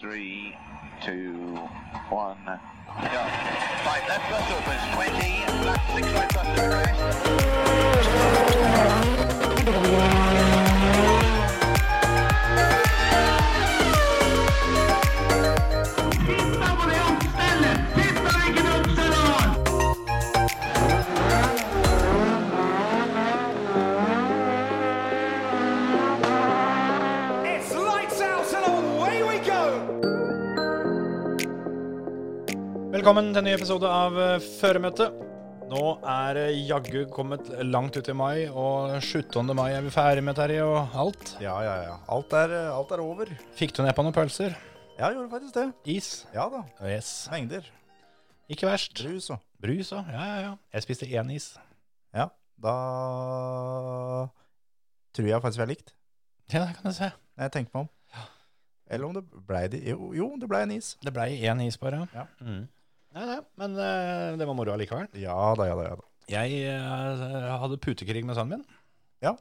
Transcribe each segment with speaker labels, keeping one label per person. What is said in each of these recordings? Speaker 1: Three, two, one, go. Five left bus opens, 20, left six right bus to crest.
Speaker 2: It's lights out and away we go!
Speaker 3: Velkommen til en ny episode av eh, Føremøtet. Nå er det jaggu kommet langt ut i mai, og 17. mai er vi ferdig med Terje og alt.
Speaker 4: Ja, ja, ja. Alt er, alt er over.
Speaker 3: Fikk du ned på noen pølser?
Speaker 4: Ja, gjorde faktisk det.
Speaker 3: Is?
Speaker 4: Ja da.
Speaker 3: Yes.
Speaker 4: Mengder.
Speaker 3: Ikke verst.
Speaker 4: Brus og
Speaker 3: Brus òg? Ja, ja, ja. Jeg spiste én is.
Speaker 4: Ja. Da tror jeg faktisk vi er likt,
Speaker 3: Ja, det kan du se.
Speaker 4: når jeg tenker meg om. Eller om det blei de Jo, jo det blei en is.
Speaker 3: Det blei én is, bare.
Speaker 4: Ja.
Speaker 3: Mm. Nei, nei, men eh, det var moro allikevel.
Speaker 4: Ja da, ja da. ja da.
Speaker 3: Jeg eh, hadde putekrig med sønnen min.
Speaker 4: Ja.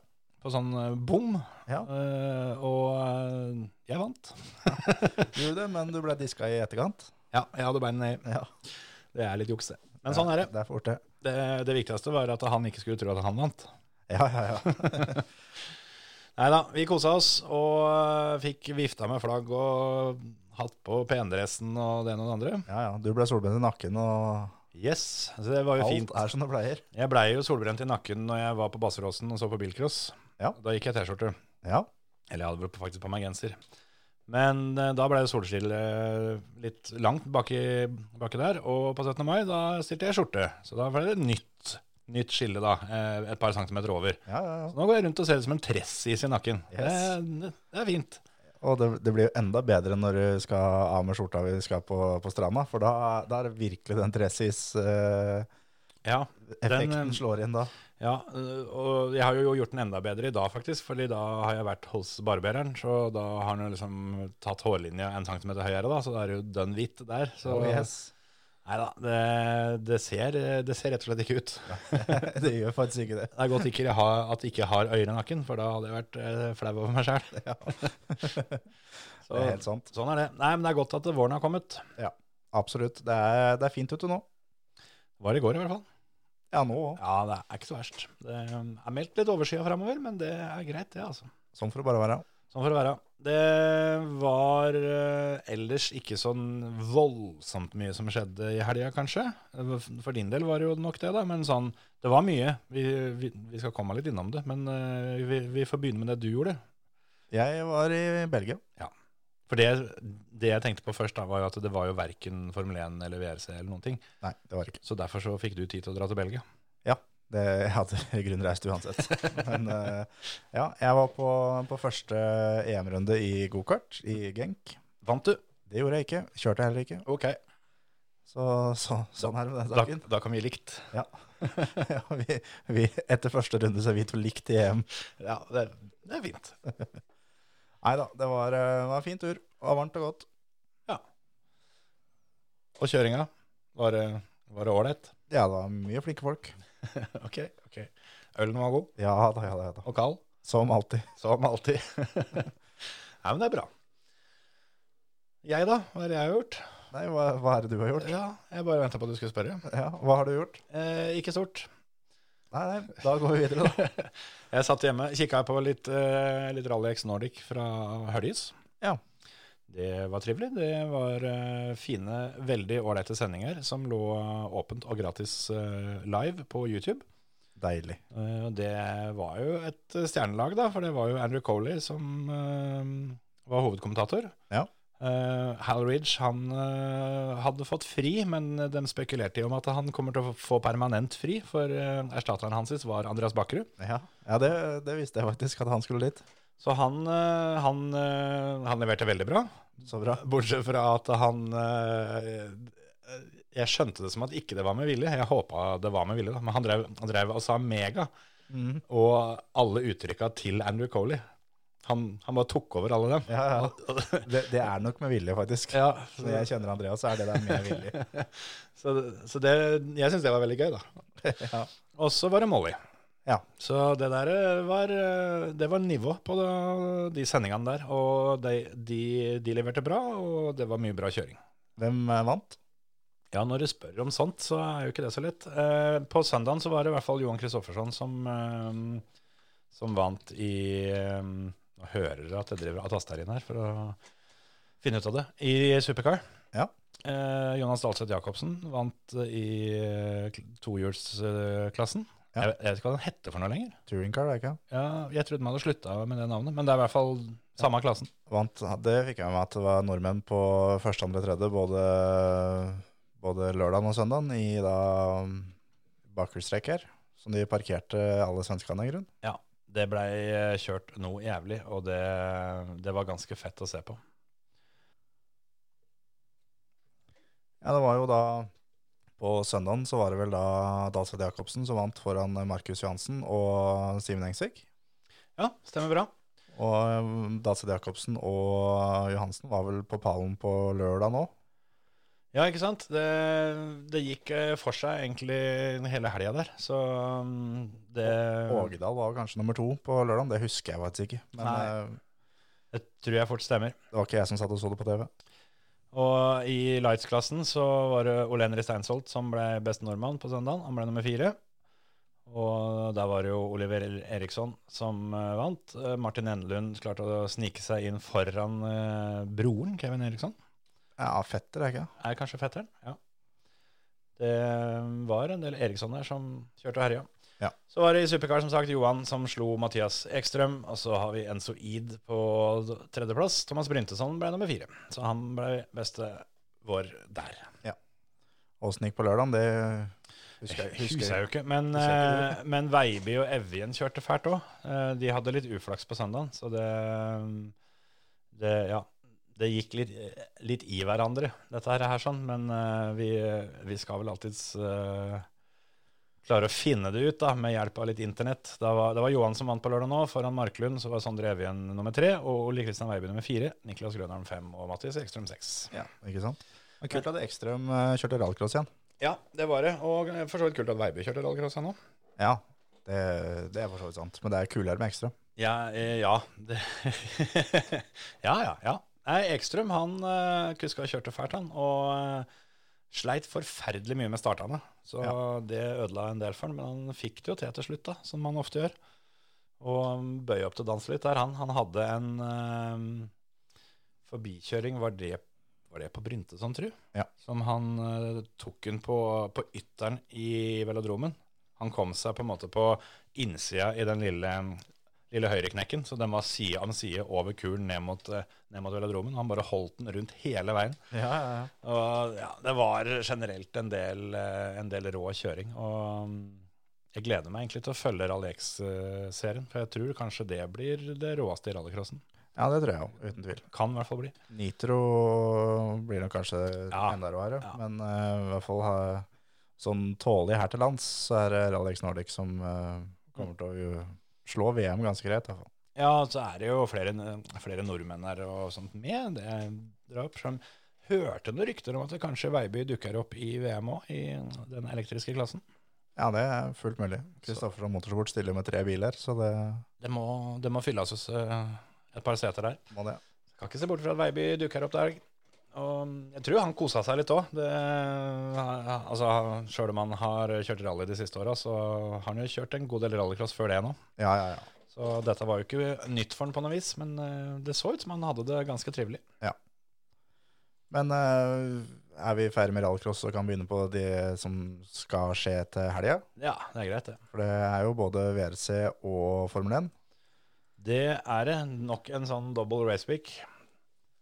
Speaker 3: På sånn eh, bom.
Speaker 4: Ja.
Speaker 3: Eh, og eh, jeg vant.
Speaker 4: Du gjorde det, men du blei diska i etterkant.
Speaker 3: Ja, jeg hadde beina i.
Speaker 4: Ja.
Speaker 3: Det er litt juks, det. Men sånn er det.
Speaker 4: Det er fort, det.
Speaker 3: Det, det viktigste var at han ikke skulle tro at han vant.
Speaker 4: Ja, ja, ja.
Speaker 3: Nei da, vi kosa oss og øh, fikk vifta med flagg og hatt på pendressen og det ene og det andre.
Speaker 4: ja, ja. Du blei solbrent i nakken, og
Speaker 3: Yes, så det var jo
Speaker 4: alt
Speaker 3: fint.
Speaker 4: er som det pleier.
Speaker 3: Jeg blei jo solbrent i nakken når jeg var på Basseråsen og så på bilcross.
Speaker 4: Ja.
Speaker 3: Da gikk jeg T-skjorte.
Speaker 4: Ja.
Speaker 3: Eller jeg hadde vel faktisk på meg genser. Men eh, da ble det solskill eh, litt langt baki, baki der, og på 17. mai da stilte jeg skjorte. Så da ble det nytt, nytt skille da, eh, et par centimeter over.
Speaker 4: ja, ja, ja.
Speaker 3: Så nå går jeg rundt og ser ut som en tressis i nakken.
Speaker 4: Yes.
Speaker 3: Det, det er fint.
Speaker 4: Og det, det blir jo enda bedre når du skal av med skjorta vi skal på, på stranda, for da, da er det virkelig den tressis-effekten
Speaker 3: Ja, eh,
Speaker 4: slår inn da.
Speaker 3: ja, øh, og jeg har jo gjort den enda bedre i dag, faktisk. fordi da har jeg vært hos barbereren, så da har han jo liksom tatt hårlinja en centimeter høyere, da, så da er det jo dønn hvitt der. Så
Speaker 4: Oh, yes.
Speaker 3: nei da, det, det, ser, det ser rett og slett ikke ut.
Speaker 4: det gjør faktisk ikke det.
Speaker 3: Det er godt ikke jeg har, at jeg ikke har øyre i nakken, for da hadde jeg vært eh, flau over meg sjøl.
Speaker 4: Det er helt sant.
Speaker 3: Sånn er det. Nei, men det er godt at våren har kommet.
Speaker 4: Absolutt. Det er, det er fint ute nå.
Speaker 3: Var i går, i hvert fall.
Speaker 4: Ja, nå òg.
Speaker 3: Ja, det er ikke så verst. Det um, er meldt litt overskya framover, men det er greit, det, altså.
Speaker 4: Sånn for å bare være.
Speaker 3: Sånn får det være. Det var eh, ellers ikke sånn voldsomt mye som skjedde i helga, kanskje. For din del var det jo nok det, da, men sånn Det var mye. Vi, vi, vi skal komme litt innom det, men eh, vi, vi får begynne med det du gjorde.
Speaker 4: Jeg var i Belgia.
Speaker 3: For det, det jeg tenkte på først, da, var jo at det var jo verken Formel 1 eller VRC eller noen ting.
Speaker 4: Nei, det var det ikke.
Speaker 3: Så derfor så fikk du tid til å dra til Belgia.
Speaker 4: Det, jeg hadde i grunnen reist uansett. Men eh, ja, jeg var på, på første EM-runde i gokart i Genk.
Speaker 3: Vant du?
Speaker 4: Det gjorde jeg ikke. Kjørte jeg heller ikke.
Speaker 3: Ok.
Speaker 4: Så, så sånn er det med den
Speaker 3: Da,
Speaker 4: saken.
Speaker 3: da kan vi likt.
Speaker 4: Ja, vi, vi, etter første runde så er vi to likt i EM.
Speaker 3: Ja, det, det er fint.
Speaker 4: Nei da, det var, eh, var en fin tur. Det var varmt og godt.
Speaker 3: Og kjøringa? Var det- var det ålreit?
Speaker 4: Ja, det var mye flinke folk.
Speaker 3: Ok, ok. Ølen var god
Speaker 4: Ja da, ja da. Ja, da.
Speaker 3: og kald,
Speaker 4: Som alltid.
Speaker 3: som alltid. Nei, men det er bra. Jeg da, hva er det jeg har gjort?
Speaker 4: Nei, hva, hva er det du har gjort?
Speaker 3: Ja, jeg bare ventet på at du skulle spørre.
Speaker 4: Ja, hva har du gjort?
Speaker 3: Eh, ikke stort.
Speaker 4: Nei, nei, da går vi videre, da.
Speaker 3: Jeg satt hjemme, kikket på litt, eh, litt RallyX Nordic fra Høljes.
Speaker 4: Ja.
Speaker 3: Det var trivelig. Det var eh, fine, veldig ålreite sendinger som lå åpent og gratis eh, live på YouTube.
Speaker 4: Deilig.
Speaker 3: Eh, Og det var jo et eh, stjernelag, da, for det var jo Andrew Coley som eh, var hovedkommentator.
Speaker 4: Ja.
Speaker 3: Eh, Hal Ridge han eh, hadde fått fri, men de spekulerte i om at han kommer til å få permanent fri, for eh, erstatteren hans var Andreas Bakkerud.
Speaker 4: Ja, ja det, det visste jeg faktisk, at han skulle dit.
Speaker 3: Så han, eh, han, eh, han leverte veldig bra,
Speaker 4: Så bra.
Speaker 3: bortsett fra at han eh, Jeg skjønte det som at ikke det var med vilje. Jeg håpa det var med vilje, da. men han drev, han drev og sa mega.
Speaker 4: Mhm.
Speaker 3: og alle uttrykka til Andrew Coley. Han, han bare tok over alle dem.
Speaker 4: Ja, ja. Det, det er nok med vilje, faktisk.
Speaker 3: Ja,
Speaker 4: Når jeg kjenner Andreas, så er det der med vilje.
Speaker 3: så, så det, jeg syns det var veldig gøy, da.
Speaker 4: Ja.
Speaker 3: Og så var det Molly.
Speaker 4: Ja.
Speaker 3: Så det der eh, var, eh, det var nivå på da- de sendingene der. Og de, de, de leverte bra, og det var mye bra kjøring.
Speaker 4: Hvem eh, vant?
Speaker 3: Ja, når du spør om sånt, så er jo ikke det så lett. Eh, på søndagen så var det i hvert fall Johan Kristoffersson som, eh, som vant i eh, Nå hører dere at jeg driver og taster inn her for å finne ut av det. I Supercar.
Speaker 4: Ja.
Speaker 3: Eh, Jonas Dahlseth Jacobsen vant eh, i eh, kl- tohjulsklassen.
Speaker 4: Ja.
Speaker 3: Jeg, jeg vet ikke hva den heter for noe lenger.
Speaker 4: Touring car, er det ikke?
Speaker 3: Ja, jeg trodde man hadde slutta med det navnet, men det er i hvert fall samme klassen.
Speaker 4: Vant, det fikk jeg med meg at det var nordmenn på første, andre, tredje, både, både lørdagen og søndagen, i da um, bakhjulstrekk her, som de parkerte alle svenskene i grunn.
Speaker 3: Ja, det blei eh, kjørt noe jævlig, og det, det var ganske fett å se på.
Speaker 4: Ja, det var jo da, på søndagen så var det vel da Dalseth Jacobsen som vant foran Markus Johansen og Simen Engsvik.
Speaker 3: Ja, stemmer bra.
Speaker 4: Og Dalseth Jacobsen og Johansen var vel på pallen på lørdag nå.
Speaker 3: Ja, ikke sant? Det, det gikk eh, for seg egentlig hele helga der, så mm, det
Speaker 4: Ågedal var kanskje nummer to på lørdagen, det husker jeg faktisk ikke. Men
Speaker 3: Nei.
Speaker 4: eh,
Speaker 3: det tror jeg fort stemmer.
Speaker 4: det var ikke jeg som satt og så det på TV.
Speaker 3: Og i lights-klassen så var det Ole Henri Steinsholt som ble beste nordmann på søndagen. Han ble nummer fire. Og der var det jo Oliver Eriksson som eh, vant. Eh, Martin Endelund klarte å snike seg inn foran eh, broren Kevin Eriksson.
Speaker 4: Ja, fetter, er det ikke?
Speaker 3: Er kanskje fetteren? Ja. Det um, var en del Eriksson der som kjørte og herja.
Speaker 4: Ja.
Speaker 3: Så var det i Supercar som sagt Johan som slo Mathias Ekstrøm. Og så har vi Enzo Eid på tredjeplass. Thomas Bryntesson ble nummer fire. Så han ble beste vår der.
Speaker 4: Åssen det gikk på lørdagen, det husker jeg,
Speaker 3: Husker jeg jo ikke. Men,
Speaker 4: Husker jeg
Speaker 3: eh, men Veiby og Evjen kjørte fælt òg. De hadde litt uflaks på søndagen, så det, eh, det Ja. Det gikk litt, eh, litt i hverandre, dette her, her sånn. Men eh, vi, vi skal vel alltids eh, klare å finne det ut, da, med hjelp av litt internett. Da var, det var Johan som vant på lørdag nå, foran Marklund. Så var Sondre Evjen nummer tre, og Ole Kristian Veiby nummer fire. Niklas Grønholm fem, og Mattis Ekstrøm seks.
Speaker 4: Ja, ikke sant? Men kult at Ekstrøm eh, kjørte rallcross igjen.
Speaker 3: Ja, det var det. Og eh, for så vidt kult at Veiby kjørte rallcross ennå.
Speaker 4: Ja, det, det er for så vidt sant. Men det er kulere med Ekstrøm.
Speaker 3: Ja, eh, ja. Det ja, ja, ja. Nei, Ekstrøm han eh, kuska og kjørte fælt, han. Og eh, sleit forferdelig mye med startene. Så det ødela en del for han, men han fikk det jo til til slutt, da, som man ofte gjør. Og bøye opp til dans litt der, han. Han hadde en eh, forbikjøring, var det, var det på Bryntesson, tru?
Speaker 4: Ja.
Speaker 3: Som han eh, tok hun på, på ytteren i velodromen. Han kom seg på en måte på innsida i den lille mm, lille høyreknekken, så den var side om side over kulen ned mot, eh, ned mot velodromen. Han bare holdt den rundt hele veien.
Speaker 4: Ja, ja, ja.
Speaker 3: Og ja, det var generelt en del, eh, en del rå kjøring. Og mm, jeg gleder meg egentlig til å følge Rally X-serien, for jeg tror kanskje det blir det råeste i rallycrossen.
Speaker 4: Ja, det tror jeg jo, uten tvil.
Speaker 3: Kan i hvert fall bli.
Speaker 4: Nitro blir nok kanskje
Speaker 3: Ja.
Speaker 4: enda råere,
Speaker 3: Ja.
Speaker 4: men eh, i hvert fall ha, sånn tålig her til lands, så er det Rallex Nordic som eh, kommer til å jo slå VM ganske greit. i hvert fall.
Speaker 3: Ja, så er det jo flere, eh, flere nordmenn her og sånt med. Det drar opp som Hørte noen rykter om at det kanskje Veiby dukker opp i VM òg, i den elektriske klassen.
Speaker 4: Ja, det er fullt mulig. Kristoffer og Motorsport stiller med tre biler, så det
Speaker 3: Det må, det må fylles oss eh, et par seter der.
Speaker 4: må det.
Speaker 3: Kan ikke se bort fra at Veiby dukker opp der. Og mm, jeg tror han kosa seg litt òg. Altså, Sjøl om han har kjørt rally de siste åra, så har han jo kjørt en god del rallycross før det nå.
Speaker 4: Ja, ja, ja.
Speaker 3: Så dette var jo ikke nytt for han på noe vis, men eh, det så ut som han hadde det ganske trivelig.
Speaker 4: Men eh, er vi ferdig med rallcross og kan begynne på det som skal skje til helga?
Speaker 3: Ja, det er greit, det.
Speaker 4: For det er jo både VRC og Formel 1.
Speaker 3: Det er det. Nok en sånn double race week.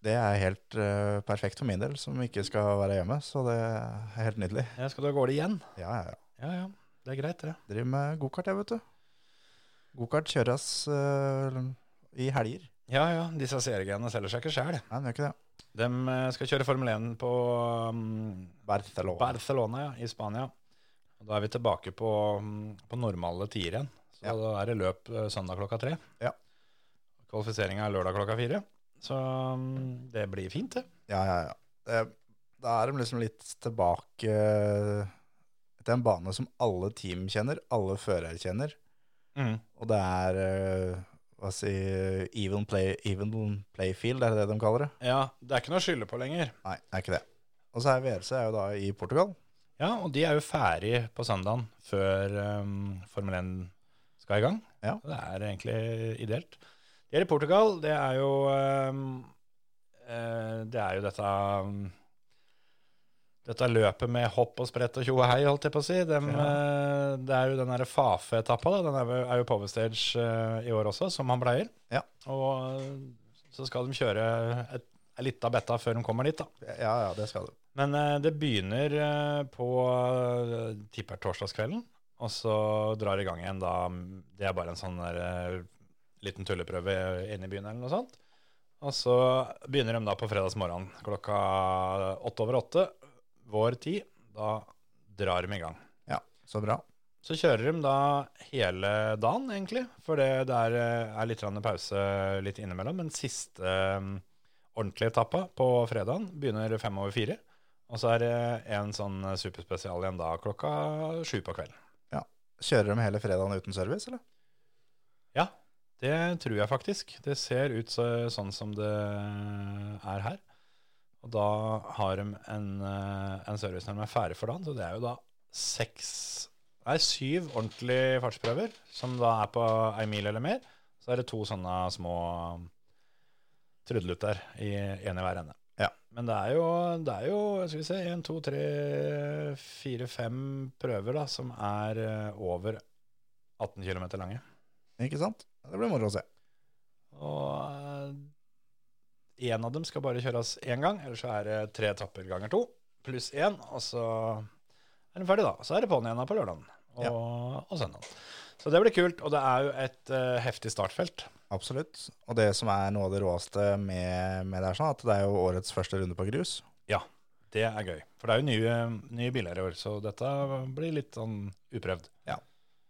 Speaker 4: Det er helt eh, perfekt for min del, som ikke skal være hjemme. Så det er helt nydelig.
Speaker 3: Ja, skal du av gårde igjen?
Speaker 4: Ja, ja, ja.
Speaker 3: Ja, ja. Det er greit, det.
Speaker 4: Driver med gokart, jeg, vet du. Gokart kjøres eh, i helger.
Speaker 3: Ja, ja. Disse seriegreiene selger seg ikke sjæl.
Speaker 4: Nei, den gjør ikke det.
Speaker 3: De skal kjøre Formel 1 på mm,
Speaker 4: Barcelona.
Speaker 3: Barcelona ja, i Spania. Og da er vi tilbake på, mm, på normale tider igjen. Så
Speaker 4: Ja.
Speaker 3: da er det løp eh, søndag klokka tre.
Speaker 4: Ja.
Speaker 3: Kvalifiseringa er lørdag klokka fire. Så mm, det blir fint, det.
Speaker 4: Ja, ja, ja. Det, da er de liksom litt tilbake til en bane som alle team kjenner, alle førere kjenner.
Speaker 3: Mm.
Speaker 4: Og det er eh, hva si, even, play, even playfield, er det det de kaller det?
Speaker 3: Ja, det er ikke noe å skylde på lenger.
Speaker 4: Nei, det er ikke det. Og så er VRC er jo da i Portugal.
Speaker 3: Ja, og de er jo ferdig på søndagen før um, Formel 1 skal i gang.
Speaker 4: Ja.
Speaker 3: Det er egentlig ideelt. De er i Portugal. Det er jo um, eh, Det er jo dette um, dette løpet med hopp og sprett og tjo og hei, holdt jeg på å si. Dem, eh, Det er jo den derre Fafe-etappa, da. Den er jo- er jo Power Stage eh, i år også, som han pleier.
Speaker 4: Ja.
Speaker 3: Og eh, så skal de kjøre et, ei lita betta før de kommer dit, da.
Speaker 4: Ja, ja, det skal du.
Speaker 3: Men eh, det begynner eh, på eh, tipper torsdagskvelden, og så drar i gang igjen da Det er bare en sånn der, eh, liten tulleprøve inne i byen eller noe sånt. Og så begynner de da på fredagsmorgenen klokka åtte over åtte, vår tid. Da drar de i gang.
Speaker 4: Ja, så bra.
Speaker 3: Så kjører de da hele dagen, egentlig, for det der eh, er litt grann pause litt innimellom. Men siste eh, ordentlige etappa på fredagen begynner fem over fire. Og så er det en sånn superspesial igjen da klokka sju på kvelden.
Speaker 4: Kjører de hele fredagen uten service, eller?
Speaker 3: Ja, det tror jeg faktisk. Det ser ut så, sånn som det er her. Og da har de en, eh, en service når de er ferdig for dagen, så det er jo da seks Nei, syv ordentlige fartsprøver, som da er på ei mil eller mer. Så er det to sånne små trudelutter, i én i hver ende.
Speaker 4: Ja.
Speaker 3: Men det er jo, det er jo skal vi se, én, to, tre, fire, fem prøver da, som er eh, over 18 km lange.
Speaker 4: Ikke sant? Det blir moro å se.
Speaker 3: Og én av dem skal bare kjøres én gang, ellers så er det tre etapper ganger to, pluss én, og så er den ferdig, da. Så er det på'n igjen da på lørdagen og,
Speaker 4: Ja.
Speaker 3: og søndagen. Så det blir kult, og det er jo et eh, heftig startfelt.
Speaker 4: Absolutt. Og det som er noe av det råeste med, med det er sånn, at det er jo årets første runde på grus.
Speaker 3: Det er gøy. For det er jo nye, nye biler i år, så dette blir litt sånn uprøvd.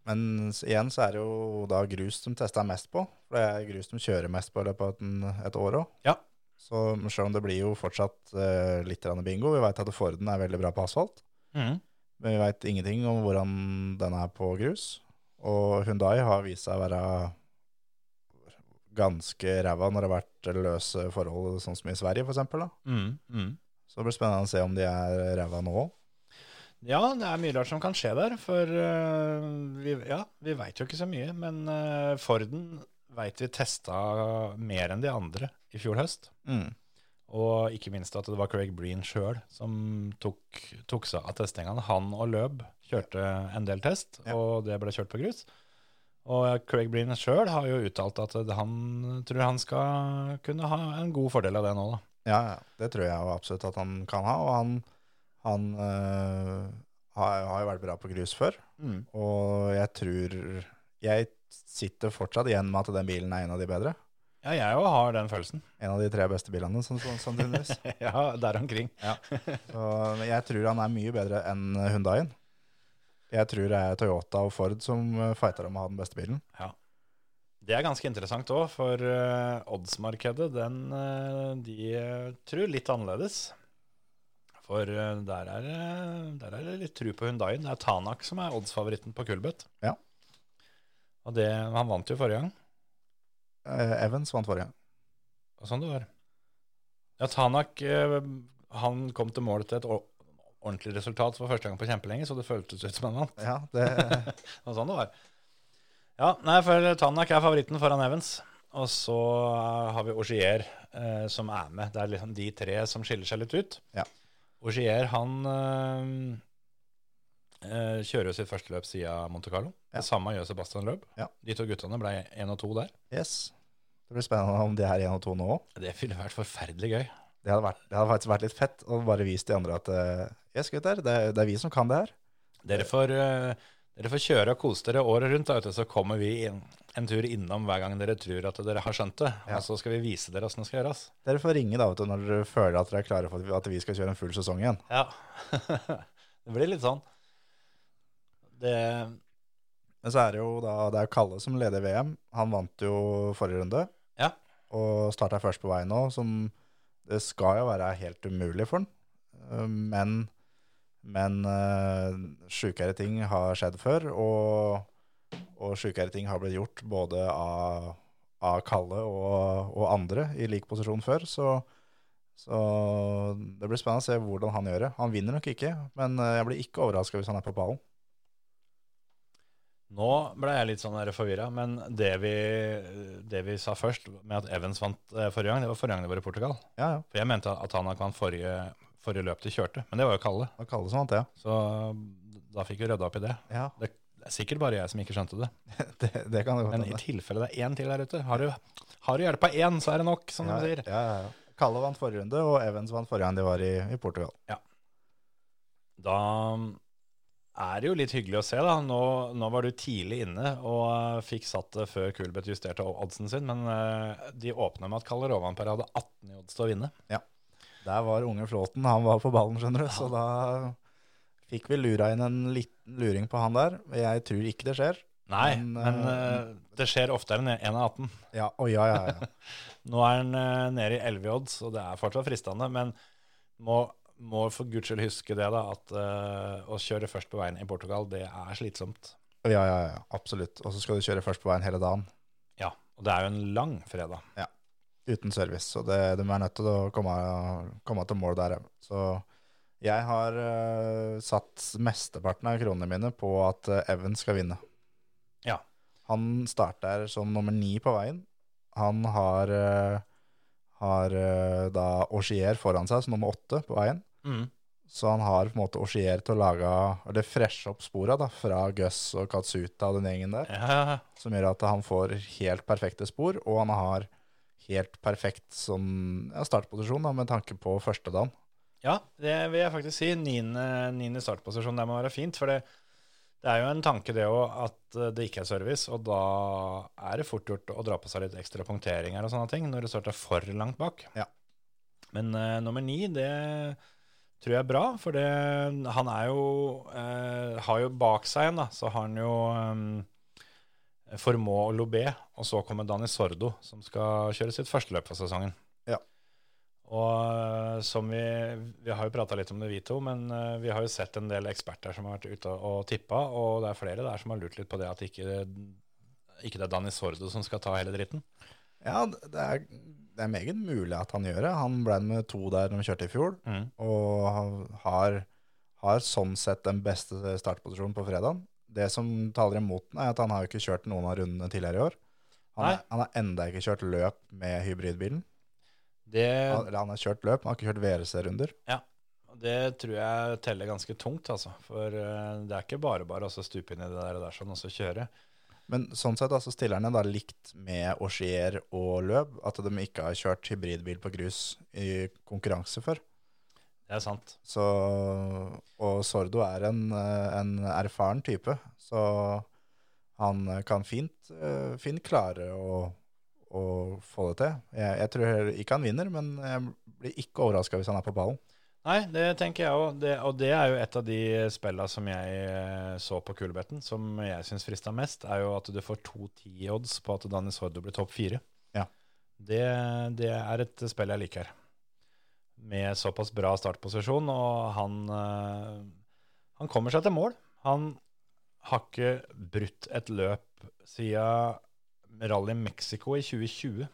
Speaker 4: Men s- igjen så er det jo da grus de tester mest på. For det er grus de kjører mest på i løpet av en- et år òg.
Speaker 3: Ja.
Speaker 4: Så mm, selv om det blir jo fortsatt eh, litt grann bingo, vi veit at Forden er veldig bra på asfalt, men vi veit ingenting om hvordan den er på grus. Og Hundai har vist seg å være ganske ræva når det har vært løse forhold, sånn som i Sverige f.eks.
Speaker 3: Mm, mm.
Speaker 4: Så det blir spennende å se om de er ræva nå òg.
Speaker 3: Ja, det er mye rart som kan skje der, for eh, vi, ja, vi veit jo ikke så mye. Men eh, Forden veit vi testa mer enn de andre i fjor høst.
Speaker 4: Mm.
Speaker 3: Og ikke minst at det var Craig Breen sjøl som tok, tok seg av testingene. Han og Løb kjørte en del test,
Speaker 4: Ja.
Speaker 3: og det ble kjørt på grus. Og Craig Breen sjøl har jo uttalt at han tror han skal kunne ha en god fordel av det nå, da.
Speaker 4: Ja, ja. det tror jeg jo absolutt at han kan ha. Og han, han øh, har, har jo vært bra på grus før. Og jeg tror Jeg sitter fortsatt igjen med at den bilen er en av de bedre.
Speaker 3: Ja, jeg òg har den følelsen.
Speaker 4: En av de tre beste bilene, sånn- sånn- sannsynligvis.
Speaker 3: ja, der omkring.
Speaker 4: Så jeg tror han er mye bedre enn Hundaien. Jeg tror det er Toyota og Ford som øh, fighter om å ha den beste bilen.
Speaker 3: Det er ganske interessant òg, for eh, oddsmarkedet den, eh, de eh, tror litt annerledes. For eh, der, er, eh, der er det litt tru på Hundaien. Det er Tanak som er oddsfavoritten på Kulbøtt.
Speaker 4: Ja.
Speaker 3: Og det, han vant jo forrige gang.
Speaker 4: Eh, Evans vant forrige gang.
Speaker 3: Og sånn det var. Ja, Tanak eh, han kom til mål til et or- ordentlig resultat for første gang på kjempelenge, så det føltes ut som han vant.
Speaker 4: Ja, det,
Speaker 3: Det var sånn det var. Ja, nei, for Tanak er favoritten foran Evans. Og så har vi Augier eh, som er med. Det er liksom de tre som skiller seg litt ut.
Speaker 4: Ja.
Speaker 3: Augier, han eh, eh, kjører jo sitt første løp siden Monte Carlo.
Speaker 4: Ja.
Speaker 3: Det samme gjør Sebastian Løb.
Speaker 4: Ja.
Speaker 3: De to guttene ble én og to der.
Speaker 4: yes. det blir spennende om de er én og to nå òg.
Speaker 3: Det ville vært forferdelig gøy.
Speaker 4: Det hadde, vært, det hadde faktisk vært litt fett å bare vise de andre at eh, yes, gutter, det, er- det er vi som kan det her.
Speaker 3: Dere får, eh, dere får kjøre og kose dere året rundt, da, vet du, så kommer vi inn, en tur innom hver gang dere tror at dere har skjønt det.
Speaker 4: Ja.
Speaker 3: Og så skal vi vise dere åssen det skal gjøres.
Speaker 4: Dere får ringe da, vet du, når dere føler at dere er klare for at vi- at vi skal kjøre en full sesong igjen.
Speaker 3: Ja. det blir litt sånn. Det
Speaker 4: Men så er det jo da, det er jo Kalle som leder VM. Han vant jo forrige runde.
Speaker 3: Ja.
Speaker 4: Og starta først på vei nå, som det skal jo være helt umulig for han. Eh, Men, men eh, sjukere ting har skjedd før, og Og sjukere ting har blitt gjort både av, av Kalle og, og andre i lik posisjon før. Så, så det blir spennende å se hvordan han gjør det. Han vinner nok ikke, men eh, jeg blir ikke overraska hvis han er på pallen.
Speaker 3: Nå ble jeg litt sånn forvirra, men det vi, det vi sa først, med at Evans vant eh, forrige gang, det var forrige gang det var i Portugal.
Speaker 4: Ja, ja.
Speaker 3: For jeg mente at han ikke vant forrige, forrige løp de kjørte, men det var jo Kalle.
Speaker 4: Det kalles sånn at det,
Speaker 3: Så da fikk vi rydda opp i det.
Speaker 4: ja.
Speaker 3: Det er sikkert bare jeg som ikke skjønte det.
Speaker 4: Det, det kan det godt
Speaker 3: Men i tilfelle det er én til der ute, har du, har du hjelpa én, så er det nok, som
Speaker 4: ja,
Speaker 3: de sier.
Speaker 4: ja, ja, ja. Kalle vant forrige runde, og Evans vant forrige gang de var i, i Portugal.
Speaker 3: Da er det jo litt hyggelig å se, da. Nå, nå var du tidlig inne og eh, fikk satt det før Kulbeth justerte oddsen sin, men eh, de åpna med at Kalle Rovanper hadde 18 i odds til å vinne.
Speaker 4: Der var unge Flåten, han var på ballen, skjønner du. Så da fikk vi lura inn en liten luring på han der. Jeg tror ikke det skjer.
Speaker 3: Nei,
Speaker 4: Men,
Speaker 3: men, eh, det skjer oftere enn 1 av 18.
Speaker 4: Ja, å ja, ja, ja.
Speaker 3: Nå er han eh, nede i 11 i odds, og det er fortsatt fristende, men må, må for guds skyld huske det, da, at eh, å kjøre først på veien i Portugal, det er slitsomt.
Speaker 4: Å ja, ja, ja. Absolutt. Og så skal du kjøre først på veien hele dagen
Speaker 3: Ja, og det er jo en lang fredag.
Speaker 4: uten service. Så det, de er nødt til å komme, komme til mål der. ja. Så jeg har eh, satt mesteparten av kronene mine på at eh, Evan skal vinne.
Speaker 3: Ja.
Speaker 4: Han starter som nummer ni på veien. Han har, eh, har eh, da Auxier foran seg som nummer åtte på veien.
Speaker 3: Mm.
Speaker 4: Så han har på en måte Auxier til å lage, eller freshe opp spora da, fra Gus og Katsuta og den gjengen der,
Speaker 3: Ja, ja, ja.
Speaker 4: som gjør at han får helt perfekte spor, og han har helt perfekt sånn, ja, startposisjon da, med tanke på første dagen.
Speaker 3: Ja, det vil jeg faktisk si. Niende, niende startposisjon, det må være fint. For det, det er jo en tanke det òg, at eh, det ikke er service. Og da er det fort gjort å dra på seg litt ekstra punkteringer og sånne ting når du starter for langt bak.
Speaker 4: Ja.
Speaker 3: Men eh, nummer ni, det tror jeg er bra, for det, han er jo eh, Har jo bak seg en, da, så har han jo eh, Formå og Lobé, og så kommer Dani Sordo, som skal kjøre sitt første løp for sesongen. Og eh, som vi, vi har jo prata litt om det, vi to, men eh, vi har jo sett en del eksperter som har vært ute og tippa, og det er flere der som har lurt litt på det at ikke, ikke det er Dani Sordo som skal ta hele dritten.
Speaker 4: Ja, det er, det er meget mulig at han gjør det. Han ble med to der når vi kjørte i fjor, og han har, har sånn sett den beste startposisjonen på fredagen. Det som taler imot den er at han har jo ikke kjørt noen av rundene tidligere i år. Han,
Speaker 3: Nei.
Speaker 4: er, han har enda ikke kjørt løp med hybridbilen.
Speaker 3: Det,
Speaker 4: Han, eller han har kjørt løp, men han har ikke kjørt VRC-runder.
Speaker 3: det tror jeg teller ganske tungt, altså. For eh, det er ikke bare bare å stupe inn i det der, og der sånn, og så kjøre.
Speaker 4: Men sånn sett altså, stiller han da likt med Auxier og Løb, at de ikke har kjørt hybridbil på grus i konkurranse før.
Speaker 3: Det er sant.
Speaker 4: Så, og Sordo er en, eh, en erfaren type, så han kan fint, eh, fint klare å, å få det til. Jeg, jeg tror heller ikke han vinner, men jeg blir ikke overraska hvis han er på ballen.
Speaker 3: Nei, det tenker jeg òg. Og det er jo et av de spella som jeg eh, så på kulebetten, som jeg syns frista mest, er jo at du får 2-10 odds på at Dani Sordo blir topp fire.
Speaker 4: Ja.
Speaker 3: Det, det er et spill jeg liker. Med såpass bra startposisjon, og han, eh, han kommer seg til mål. Han har ikke brutt et løp siden Rally Mexico i 2020.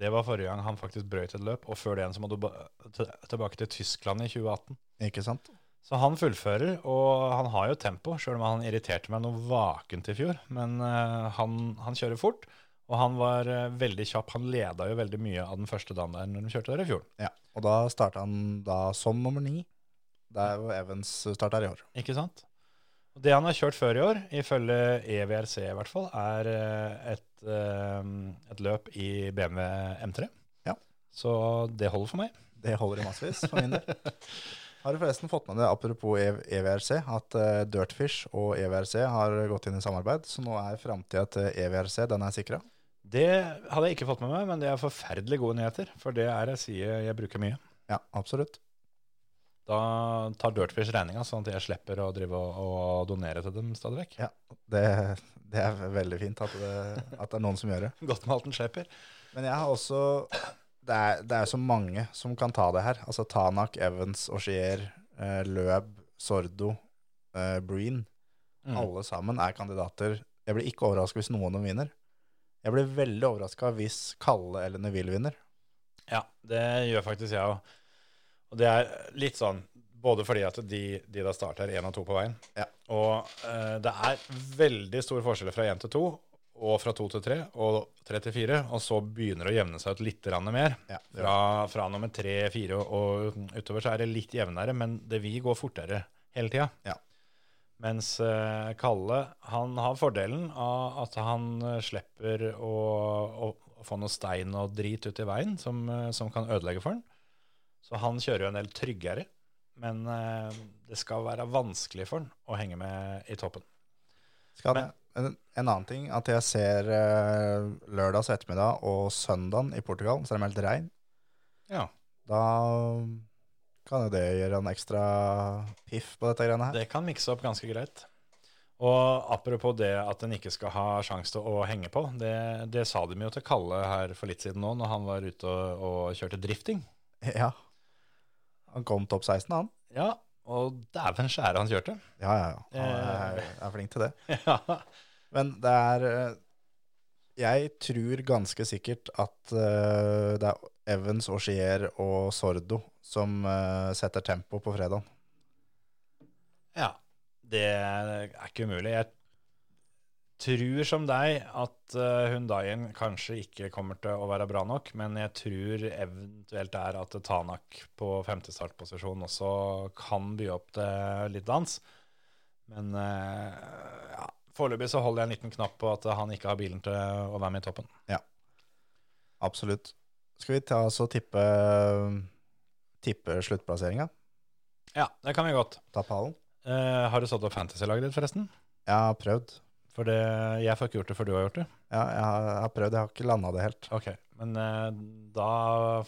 Speaker 3: Det var forrige gang han faktisk brøyt et løp, og før det en som måtte ba- til- tilbake til Tyskland i 2018.
Speaker 4: Ikke sant?
Speaker 3: Så han fullfører, og han har jo tempo, sjøl om han irriterte meg noe vakent i fjor. Men eh, han, han kjører fort, og han var eh, veldig kjapp. Han leda jo veldig mye av den første dagen der når de kjørte der i fjor.
Speaker 4: Ja, og da starta han da som nummer ni. Det er jo Evans starter i år.
Speaker 3: Ikke sant? Og det han har kjørt før i år, ifølge E EVRC i hvert fall, er eh, et, eh, et løp i BMW M3.
Speaker 4: Ja.
Speaker 3: Så det holder for meg.
Speaker 4: Det holder i massevis, for min del. Har du forresten fått med det, apropos E- EVRC, at eh, Dirtfish og EVRC har gått inn i samarbeid, så nå er framtida til E EVRC den er sikra.
Speaker 3: Det hadde jeg ikke fått med meg, men det er forferdelig gode nyheter. For det er ei side jeg bruker mye.
Speaker 4: Ja, absolutt.
Speaker 3: Da tar Dirtfish regninga, sånn at jeg slipper å drive og, og donere til dem stadig vekk.
Speaker 4: Det, det er veldig fint at det, at det er noen som gjør det.
Speaker 3: Godt med alt den slipper.
Speaker 4: Men jeg har også Det er, det er så mange som kan ta det her. Altså Tanak, Evans, Auxier, eh, Løb, Sordo, eh, Breen.
Speaker 3: Mm.
Speaker 4: Mm. Alle sammen er kandidater Jeg blir ikke overraska hvis noen av dem vinner. Jeg blir veldig overraska hvis Kalle eller Neville vinner.
Speaker 3: Ja, det gjør faktisk jeg òg. Og det er litt sånn både fordi at de, de da starter én av to på veien,
Speaker 4: Ja.
Speaker 3: og eh, det er veldig stor forskjell fra én til to, og fra to til tre, og tre til fire, og så begynner det å jevne seg ut litt grann mer.
Speaker 4: Ja, det
Speaker 3: fra, fra nummer tre, fire og, og utover så er det litt jevnere, men det vil gå fortere hele tida.
Speaker 4: Ja.
Speaker 3: Mens eh, Kalle, han har fordelen av at han eh, slipper å, å, å få noe stein og drit ut i veien som, eh, som kan ødelegge for han. Så han kjører jo en del tryggere, men eh, det skal være vanskelig for han å henge med i toppen.
Speaker 4: Skal det. En, en annen ting, at jeg ser eh, lørdags ettermiddag og søndagen i Portugal, så er det meldt regn.
Speaker 3: Ja,
Speaker 4: Da kan jo det gjøre en ekstra piff på dette greiene her.
Speaker 3: Det kan mikse opp ganske greit. Og apropos det at en ikke skal ha sjanse til å henge på, det, det sa de jo til Kalle her for litt siden nå, når han var ute og, og kjørte drifting.
Speaker 4: Ja. Han kom topp 16, han.
Speaker 3: Ja, og dæven skjære han kjørte.
Speaker 4: Ja, ja, ja. Han er,
Speaker 3: Eh.
Speaker 4: er flink til det.
Speaker 3: ja.
Speaker 4: Men det er eh, Jeg tror ganske sikkert at eh, det er Evans, Auchier og Sordo som eh, setter tempo på fredag.
Speaker 3: ja, det er ikke umulig. Jeg tror som deg at eh, Hyundaien kanskje ikke kommer til å være bra nok, men jeg tror eventuelt er at Tanak på femte startposisjon også kan by opp til litt dans. Men eh, ja, foreløpig så holder jeg en liten knapp på at han ikke har bilen til å være med i toppen.
Speaker 4: Absolutt. Skal vi ta oss og tippe, eh, tippe sluttplasseringa?
Speaker 3: Ja, det kan vi godt.
Speaker 4: Ta pallen?
Speaker 3: Eh, har du satt opp fantasy-laget ditt forresten?
Speaker 4: Jeg har prøvd.
Speaker 3: For det, jeg får ikke gjort det før du har gjort det.
Speaker 4: Ja, jeg har, jeg har prøvd. Jeg har ikke landa det helt.
Speaker 3: Ok, men eh, da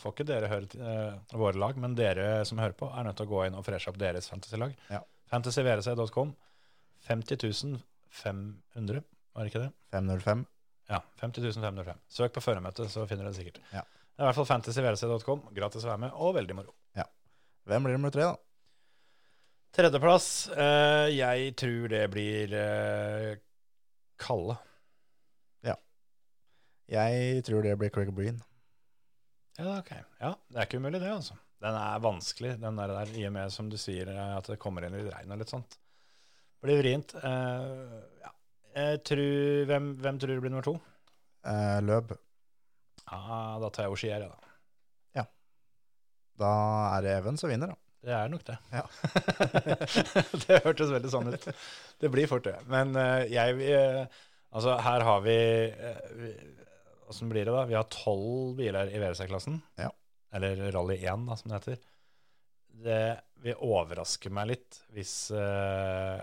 Speaker 3: får ikke dere høre til, eh, våre lag, men dere som hører på, er nødt til å gå inn og freshe opp deres fantasylag.
Speaker 4: Ja.
Speaker 3: Fantasyvrc.com. 50 500, var det ikke det?
Speaker 4: 505.
Speaker 3: Ja, 50 505. Søk på føremøtet, så finner dere det sikkert.
Speaker 4: Ja.
Speaker 3: Det er i hvert fall fantasyvrc.com. Gratis å være med, og veldig moro.
Speaker 4: Hvem blir nummer tre, da?
Speaker 3: Tredjeplass, eh, jeg tror det blir eh, Kalle.
Speaker 4: Jeg tror det blir Craig Breen.
Speaker 3: Ja, ok. Ja, det er ikke umulig det, altså. Den er vanskelig, den der, der i og med som du sier eh, at det kommer inn litt regn og litt sånt. Blir vrient. Eh, ja. Jeg tror, hvem, hvem tror du blir nummer to?
Speaker 4: Eh, løp.
Speaker 3: Ah, da tar jeg Oshier, jeg, da.
Speaker 4: Da er det Evans som vinner, da.
Speaker 3: Det er nok det.
Speaker 4: Ja.
Speaker 3: det hørtes veldig sånn ut. Det blir fort det. Men eh, jeg eh, Altså, her har vi Åssen blir det, da? Vi har tolv biler i WRC-klassen.
Speaker 4: Ja.
Speaker 3: Eller Rally 1, da, som det heter. Det vil overraske meg litt hvis eh,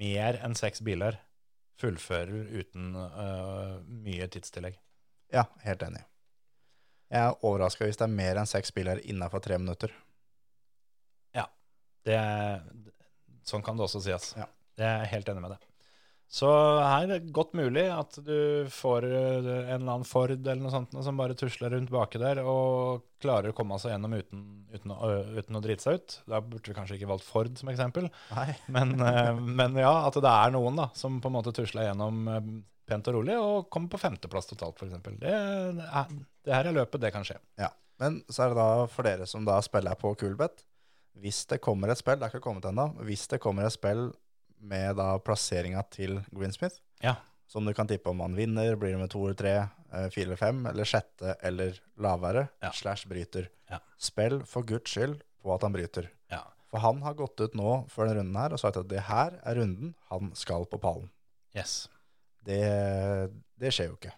Speaker 3: mer enn seks biler fullfører uten eh, mye tidstillegg.
Speaker 4: Ja, helt enig. Jeg er overraska hvis det er mer enn seks spillere innafor tre minutter.
Speaker 3: Det, sånn kan det også sies.
Speaker 4: Ja.
Speaker 3: Jeg er helt enig med det. Så her er det godt mulig at du får eh, en eller annen Ford eller noe sånt noe som bare tusler rundt baki der og klarer å komme seg gjennom uten, uten, å, uten å drite seg ut. Da burde vi kanskje ikke valgt Ford som eksempel,
Speaker 4: Nei.
Speaker 3: men, eh, men ja, at det er noen da, som på en måte tusler gjennom eh, pent og rolig og kommer på femteplass totalt, f.eks. Det, er- det her er løpet, det kan skje.
Speaker 4: Ja. Men så er det da for dere som da spiller på Kulbeth Hvis det kommer et spill, det er ikke kommet ennå, hvis det kommer et spill med da plasseringa til Greensmith,
Speaker 3: Ja.
Speaker 4: som du kan tippe om han vinner, blir det med to eller tre, eh, fire eller fem, eller sjette eller lavere,
Speaker 3: Ja.
Speaker 4: slash bryter.
Speaker 3: Ja.
Speaker 4: Spill for guds skyld på at han bryter.
Speaker 3: Ja.
Speaker 4: For han har gått ut nå før denne runden her og sagt at det her er runden han skal på pallen.
Speaker 3: Yes.
Speaker 4: Det, det skjer jo ikke.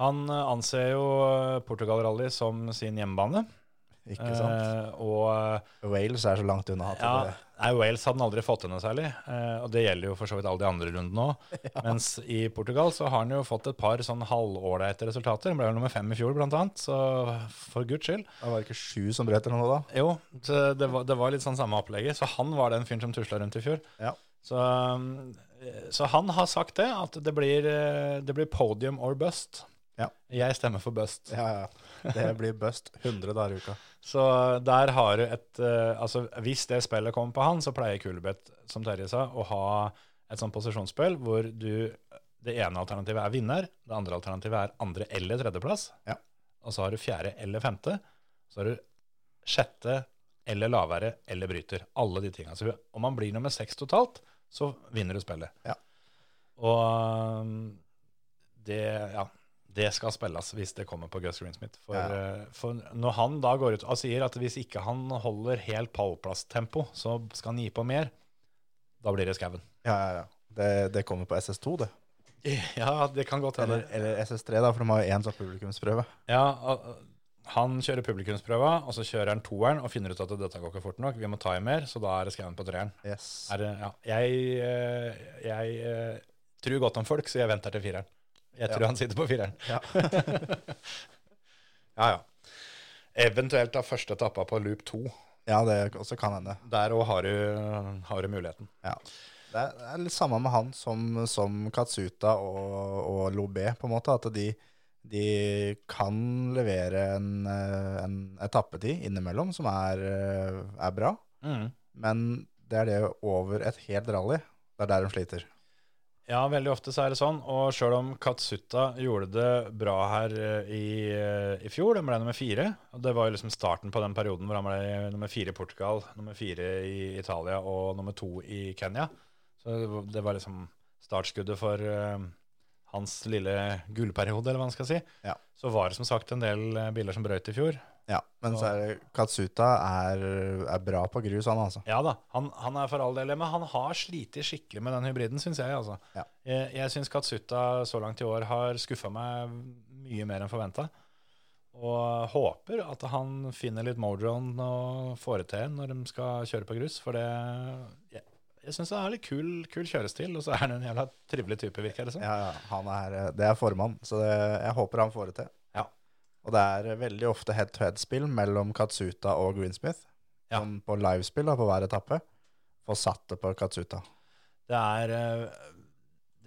Speaker 3: Han eh, anser jo eh, Portugal Rally som sin hjemmebane.
Speaker 4: Ikke sant?
Speaker 3: Eh, og eh,
Speaker 4: Wales er så langt unna at
Speaker 3: ja,
Speaker 4: det,
Speaker 3: nei, Wales hadde han aldri fått til noe særlig. eh, og det gjelder jo for så vidt alle de andre rundene òg. Mens i Portugal så har han jo fått et par sånn halvålreite resultater. Han ble jo nummer fem i fjor, blant annet. Så for guds skyld.
Speaker 4: det var ikke sju som brøt eller noe da.
Speaker 3: Jo, så det var, det var litt sånn samme opplegget. Så han var den fyren som tusla rundt i fjor.
Speaker 4: Ja.
Speaker 3: Så, um, så han har sagt det, at det blir, eh, det blir podium or bust.
Speaker 4: Ja.
Speaker 3: Jeg stemmer for bust.
Speaker 4: Ja, ja. Det blir bust 100 dager i uka.
Speaker 3: Så der har du et eh, Altså, hvis det spillet kommer på han, så pleier Kulebeth, som Terje sa, å ha et sånt posisjonsspill hvor du det ene alternativet er vinner, det andre alternativet er andre eller tredjeplass.
Speaker 4: Ja.
Speaker 3: Og så har du fjerde eller femte. Så har du sjette eller lavere eller bryter. Alle de tinga. Så om man blir nummer seks totalt, så vinner du spillet.
Speaker 4: Ja.
Speaker 3: Og um, det Ja. Det skal spilles hvis det kommer på Gus Greensmith. For,
Speaker 4: Ja.
Speaker 3: eh, for når han da går ut og sier at hvis ikke han holder helt pallplasstempo, så skal han gi på mer, da blir det skauen.
Speaker 4: Ja, ja, ja. Det, det kommer på SS2, det.
Speaker 3: Ja, det kan godt hende.
Speaker 4: Eller, eller SS3, da, for de har jo én sånn publikumsprøve.
Speaker 3: Ja, og- og han kjører publikumsprøva, og så kjører han toeren og finner ut at dette går ikke fort nok, vi må ta i mer, så da er det skauen på treeren.
Speaker 4: Yes.
Speaker 3: Er det, ja. Jeg, eh, jeg eh, tror godt om folk, så jeg venter til fireren. Jeg tror han sitter på fireren.
Speaker 4: Ja.
Speaker 3: ja, ja. Eventuelt da første etappa på loop to.
Speaker 4: Ja, det også kan hende.
Speaker 3: Der òg har, du- har du muligheten.
Speaker 4: Ja. Det er, det er litt samme med han som, som Katsuta og, og Lobé, på en måte. At de, de kan levere en, eh, en etappetid innimellom som er, eh, er bra,
Speaker 3: Mm.
Speaker 4: men det er det over et helt rally. Det er der de sliter.
Speaker 3: Ja, veldig ofte så er det sånn. Og sjøl om Katsuta gjorde det bra her eh, i, eh, i fjor, den ble nummer fire. Og det var jo liksom starten på den perioden hvor han ble nummer fire i Portugal, nummer fire i Italia og nummer to i Kenya. Så det var- det var liksom startskuddet for eh, hans lille gullperiode, eller hva man skal si.
Speaker 4: Ja.
Speaker 3: Så var det som sagt en del eh, biler som brøyt i fjor.
Speaker 4: Ja, men så er det, Katsuta er, er bra på grus, han altså.
Speaker 3: Ja da, han, han er for all del det, men han har slitt skikkelig med den hybriden, syns jeg. altså.
Speaker 4: Ja.
Speaker 3: Jeg, jeg syns Katsuta så langt i år har skuffa meg mye mer enn forventa. Og håper at han finner litt mojoen og får det til når de skal kjøre på grus. For det Jeg, jeg syns det er litt kul, kul kjørestil, og så er han en jævla trivelig type, virker det som.
Speaker 4: Ja, ja, han er, eh, det er formann, så det, jeg håper han får det til.
Speaker 3: Ja.
Speaker 4: Og det er eh, veldig ofte head-to-head-spill mellom Katsuta og Greensmith.
Speaker 3: Ja.
Speaker 4: Sånn på livespill da, på hver etappe. Få satt det på Katsuta.
Speaker 3: Det er, eh,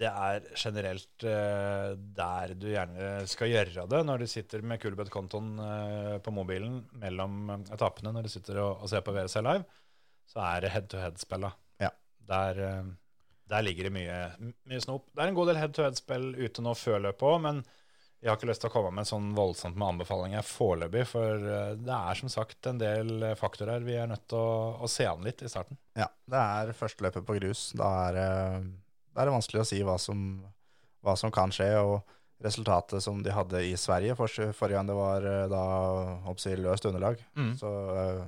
Speaker 3: det er generelt eh, der du gjerne skal gjøre det, når du sitter med Kulebøtt-kontoen eh, på mobilen mellom etappene, når du sitter og, og ser på VRC Live, så er det head-to-head-spilla.
Speaker 4: Ja.
Speaker 3: Der, eh, der ligger det mye, mye snop. Det er en god del head-to-head-spill ute nå før løpet òg, men jeg har ikke lyst til å komme med sånn voldsomt med anbefalinger foreløpig, for eh, det er som sagt en del faktorer vi er nødt til å, å se an litt i starten.
Speaker 4: Ja, det er førsteløpet på grus. Da er, eh, det- da er det vanskelig å si hva som, hva som kan skje, og resultatet som de hadde i Sverige for, forrige gang det var eh, da, hoppsi, løst underlag.
Speaker 3: Mm.
Speaker 4: Så eh,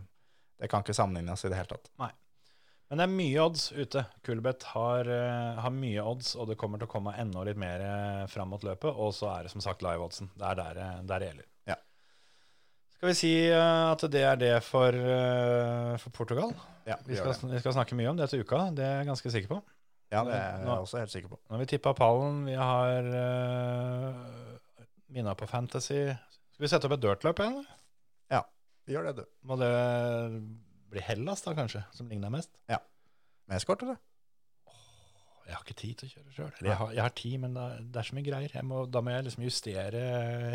Speaker 4: det kan ikke sammenlignes i det hele tatt.
Speaker 3: Men det er mye odds ute. Kulbeth har, eh, har mye odds, og det kommer til å komme enda litt mer eh, fram mot løpet. Og så er det som sagt live-oddsen. Det er der, eh, der det gjelder.
Speaker 4: Ja.
Speaker 3: Skal vi si eh, at det er det for, eh, for Portugal?
Speaker 4: Ja,
Speaker 3: Vi
Speaker 4: gjør
Speaker 3: skal,
Speaker 4: det.
Speaker 3: sn- vi skal snakke mye om det til uka, det er jeg ganske sikker på.
Speaker 4: ja, det er jeg
Speaker 3: Nå-
Speaker 4: også helt sikker på.
Speaker 3: Nå har vi tippa pallen, vi har uh, minna på Fantasy. Skal vi sette opp et dirtløp igjen? eller?
Speaker 4: Gjør det, du.
Speaker 3: Må det bli Hellas, da, kanskje, som ligner mest?
Speaker 4: Med eskort, eller?
Speaker 3: Jeg har ikke tid til å kjøre sjøl. Eller jeg har, jeg har tid, men det er, det er så mye greier. Jeg må, da må jeg liksom justere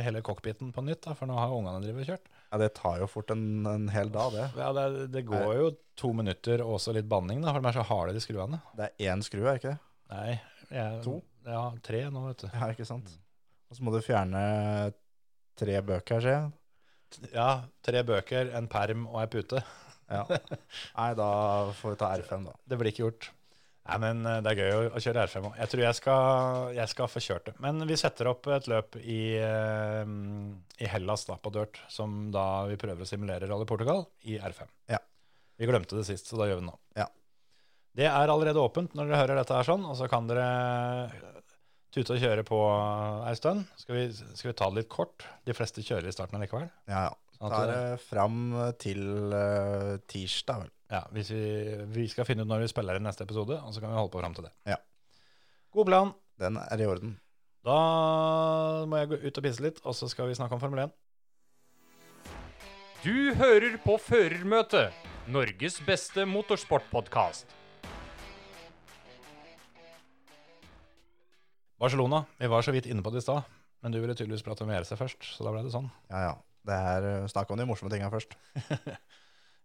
Speaker 3: hele cockpiten på nytt, da, for nå har ungene drevet og kjørt.
Speaker 4: Ja, det tar jo fort en, en hel dag, det.
Speaker 3: Ja, det, det går jo to minutter og også litt banning, da, for de er så harde, de skruene.
Speaker 4: Det er én skru, er det ikke det?
Speaker 3: Nei, jeg,
Speaker 4: To?
Speaker 3: Ja, tre nå, vet du.
Speaker 4: Ja, ikke sant? Og så må du fjerne tre bøker, ser jeg.
Speaker 3: Ja, tre bøker, en perm og ei pute.
Speaker 4: Ja. Nei, da får vi ta R5, da.
Speaker 3: Det blir ikke gjort. Nei, men eh, det er gøy å, å kjøre R5 òg. Jeg tror jeg skal, jeg skal få kjørt det. Men vi setter opp et løp i, eh, i Hellas da, på dirt, som da vi prøver å simulere Rally Portugal i R5.
Speaker 4: Ja.
Speaker 3: Vi glemte det sist, så da gjør vi det nå.
Speaker 4: Ja.
Speaker 3: Det er allerede åpent når dere hører dette her sånn, og så kan dere eh, tute og kjøre på ei stund. Skal vi, skal vi ta det litt kort? De fleste kjører i starten allikevel.
Speaker 4: Ja, ja.
Speaker 3: Sånn at
Speaker 4: Da er det fram til eh, tirsdag, vel.
Speaker 3: Ja, hvis vi, vi skal finne ut når vi spiller i neste episode, og så kan vi holde på fram til det.
Speaker 4: Ja.
Speaker 3: God plan.
Speaker 4: Den er i orden.
Speaker 3: Da må jeg gå ut og pisse litt, og så skal vi snakke om Formel 1.
Speaker 5: Du hører på Førermøtet, Norges beste motorsportpodkast.
Speaker 3: Barcelona. Vi var så vidt inne på det i stad, men du ville tydeligvis prate om VRC først, så da ble det sånn.
Speaker 4: Ja, ja. Det er eh, Snakk om de morsomme tinga først.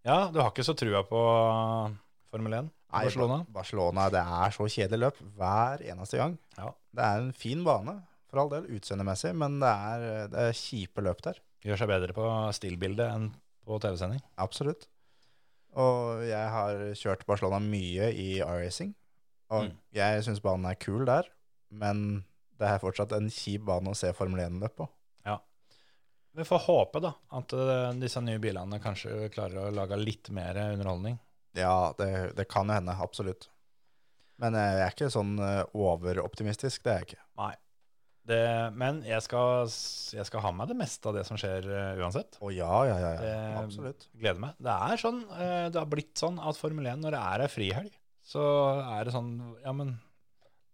Speaker 3: Ja, du har ikke så trua på uh, Formel 1?
Speaker 4: Nei,
Speaker 3: Barcelona?
Speaker 4: Ba- Barcelona, det er så kjedelig løp hver eneste gang.
Speaker 3: Ja.
Speaker 4: Det er en fin bane, for all del, utseendemessig, men det er, eh, det er kjipe løp der.
Speaker 3: Gjør seg bedre på stillbilde enn på TV-sending.
Speaker 4: Absolutt. Og jeg har kjørt Barcelona mye i iRacing, og
Speaker 3: Mm.
Speaker 4: jeg syns banen er kul der, men det er fortsatt en kjip bane å se Formel 1-løp på.
Speaker 3: Vi får håpe da, at eh, disse nye bilene kanskje klarer å lage litt mer underholdning.
Speaker 4: Ja, det, det kan jo hende, absolutt. Men eh, jeg er ikke sånn eh, overoptimistisk, det er jeg ikke.
Speaker 3: Nei. Det, men jeg skal, s- jeg skal ha med det meste av det som skjer eh, uansett.
Speaker 4: Å ja, ja, ja, ja.
Speaker 3: Det-
Speaker 4: absolutt.
Speaker 3: Gleder meg. Det er sånn, eh, det har blitt sånn at Formel 1, når det er ei frihelg, så er det sånn Ja, men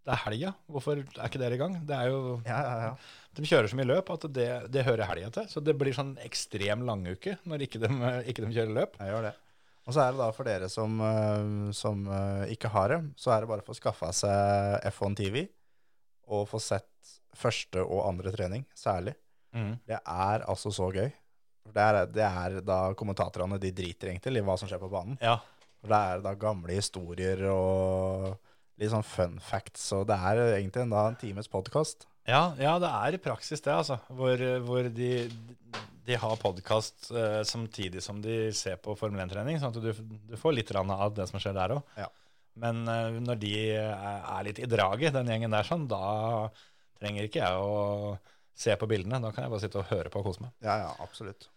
Speaker 3: det er helga. Hvorfor er ikke dere i gang? Det er jo
Speaker 4: Ja, ja, ja.
Speaker 3: De kjører så mye løp at det, det hører helga til. Så det blir sånn ekstrem languke når ikke de, ikke de kjører løp.
Speaker 4: Jeg gjør det. Og så er det da for dere som, eh, som eh, ikke har det, så er det bare å få skaffa seg F1 TV og få sett første og andre trening, særlig.
Speaker 3: Mm.
Speaker 4: Det er altså så gøy. For Det er, det er da kommentatorene de driter egentlig i hva som skjer på banen.
Speaker 3: Ja.
Speaker 4: For Det er da gamle historier og litt sånn fun facts, og det er egentlig en, da en times podkast.
Speaker 3: Ja, ja, det er i praksis det, altså. Hvor, hvor de, de har podkast eh, samtidig som de ser på Formel 1-trening, sånn at du, du får litt grann av det som skjer der òg.
Speaker 4: Ja.
Speaker 3: Men eh, når de er er litt i draget, den gjengen der, sånn, da trenger ikke jeg å se på bildene. Da kan jeg bare sitte og høre på og kose meg.
Speaker 4: Ja, ja, absolutt.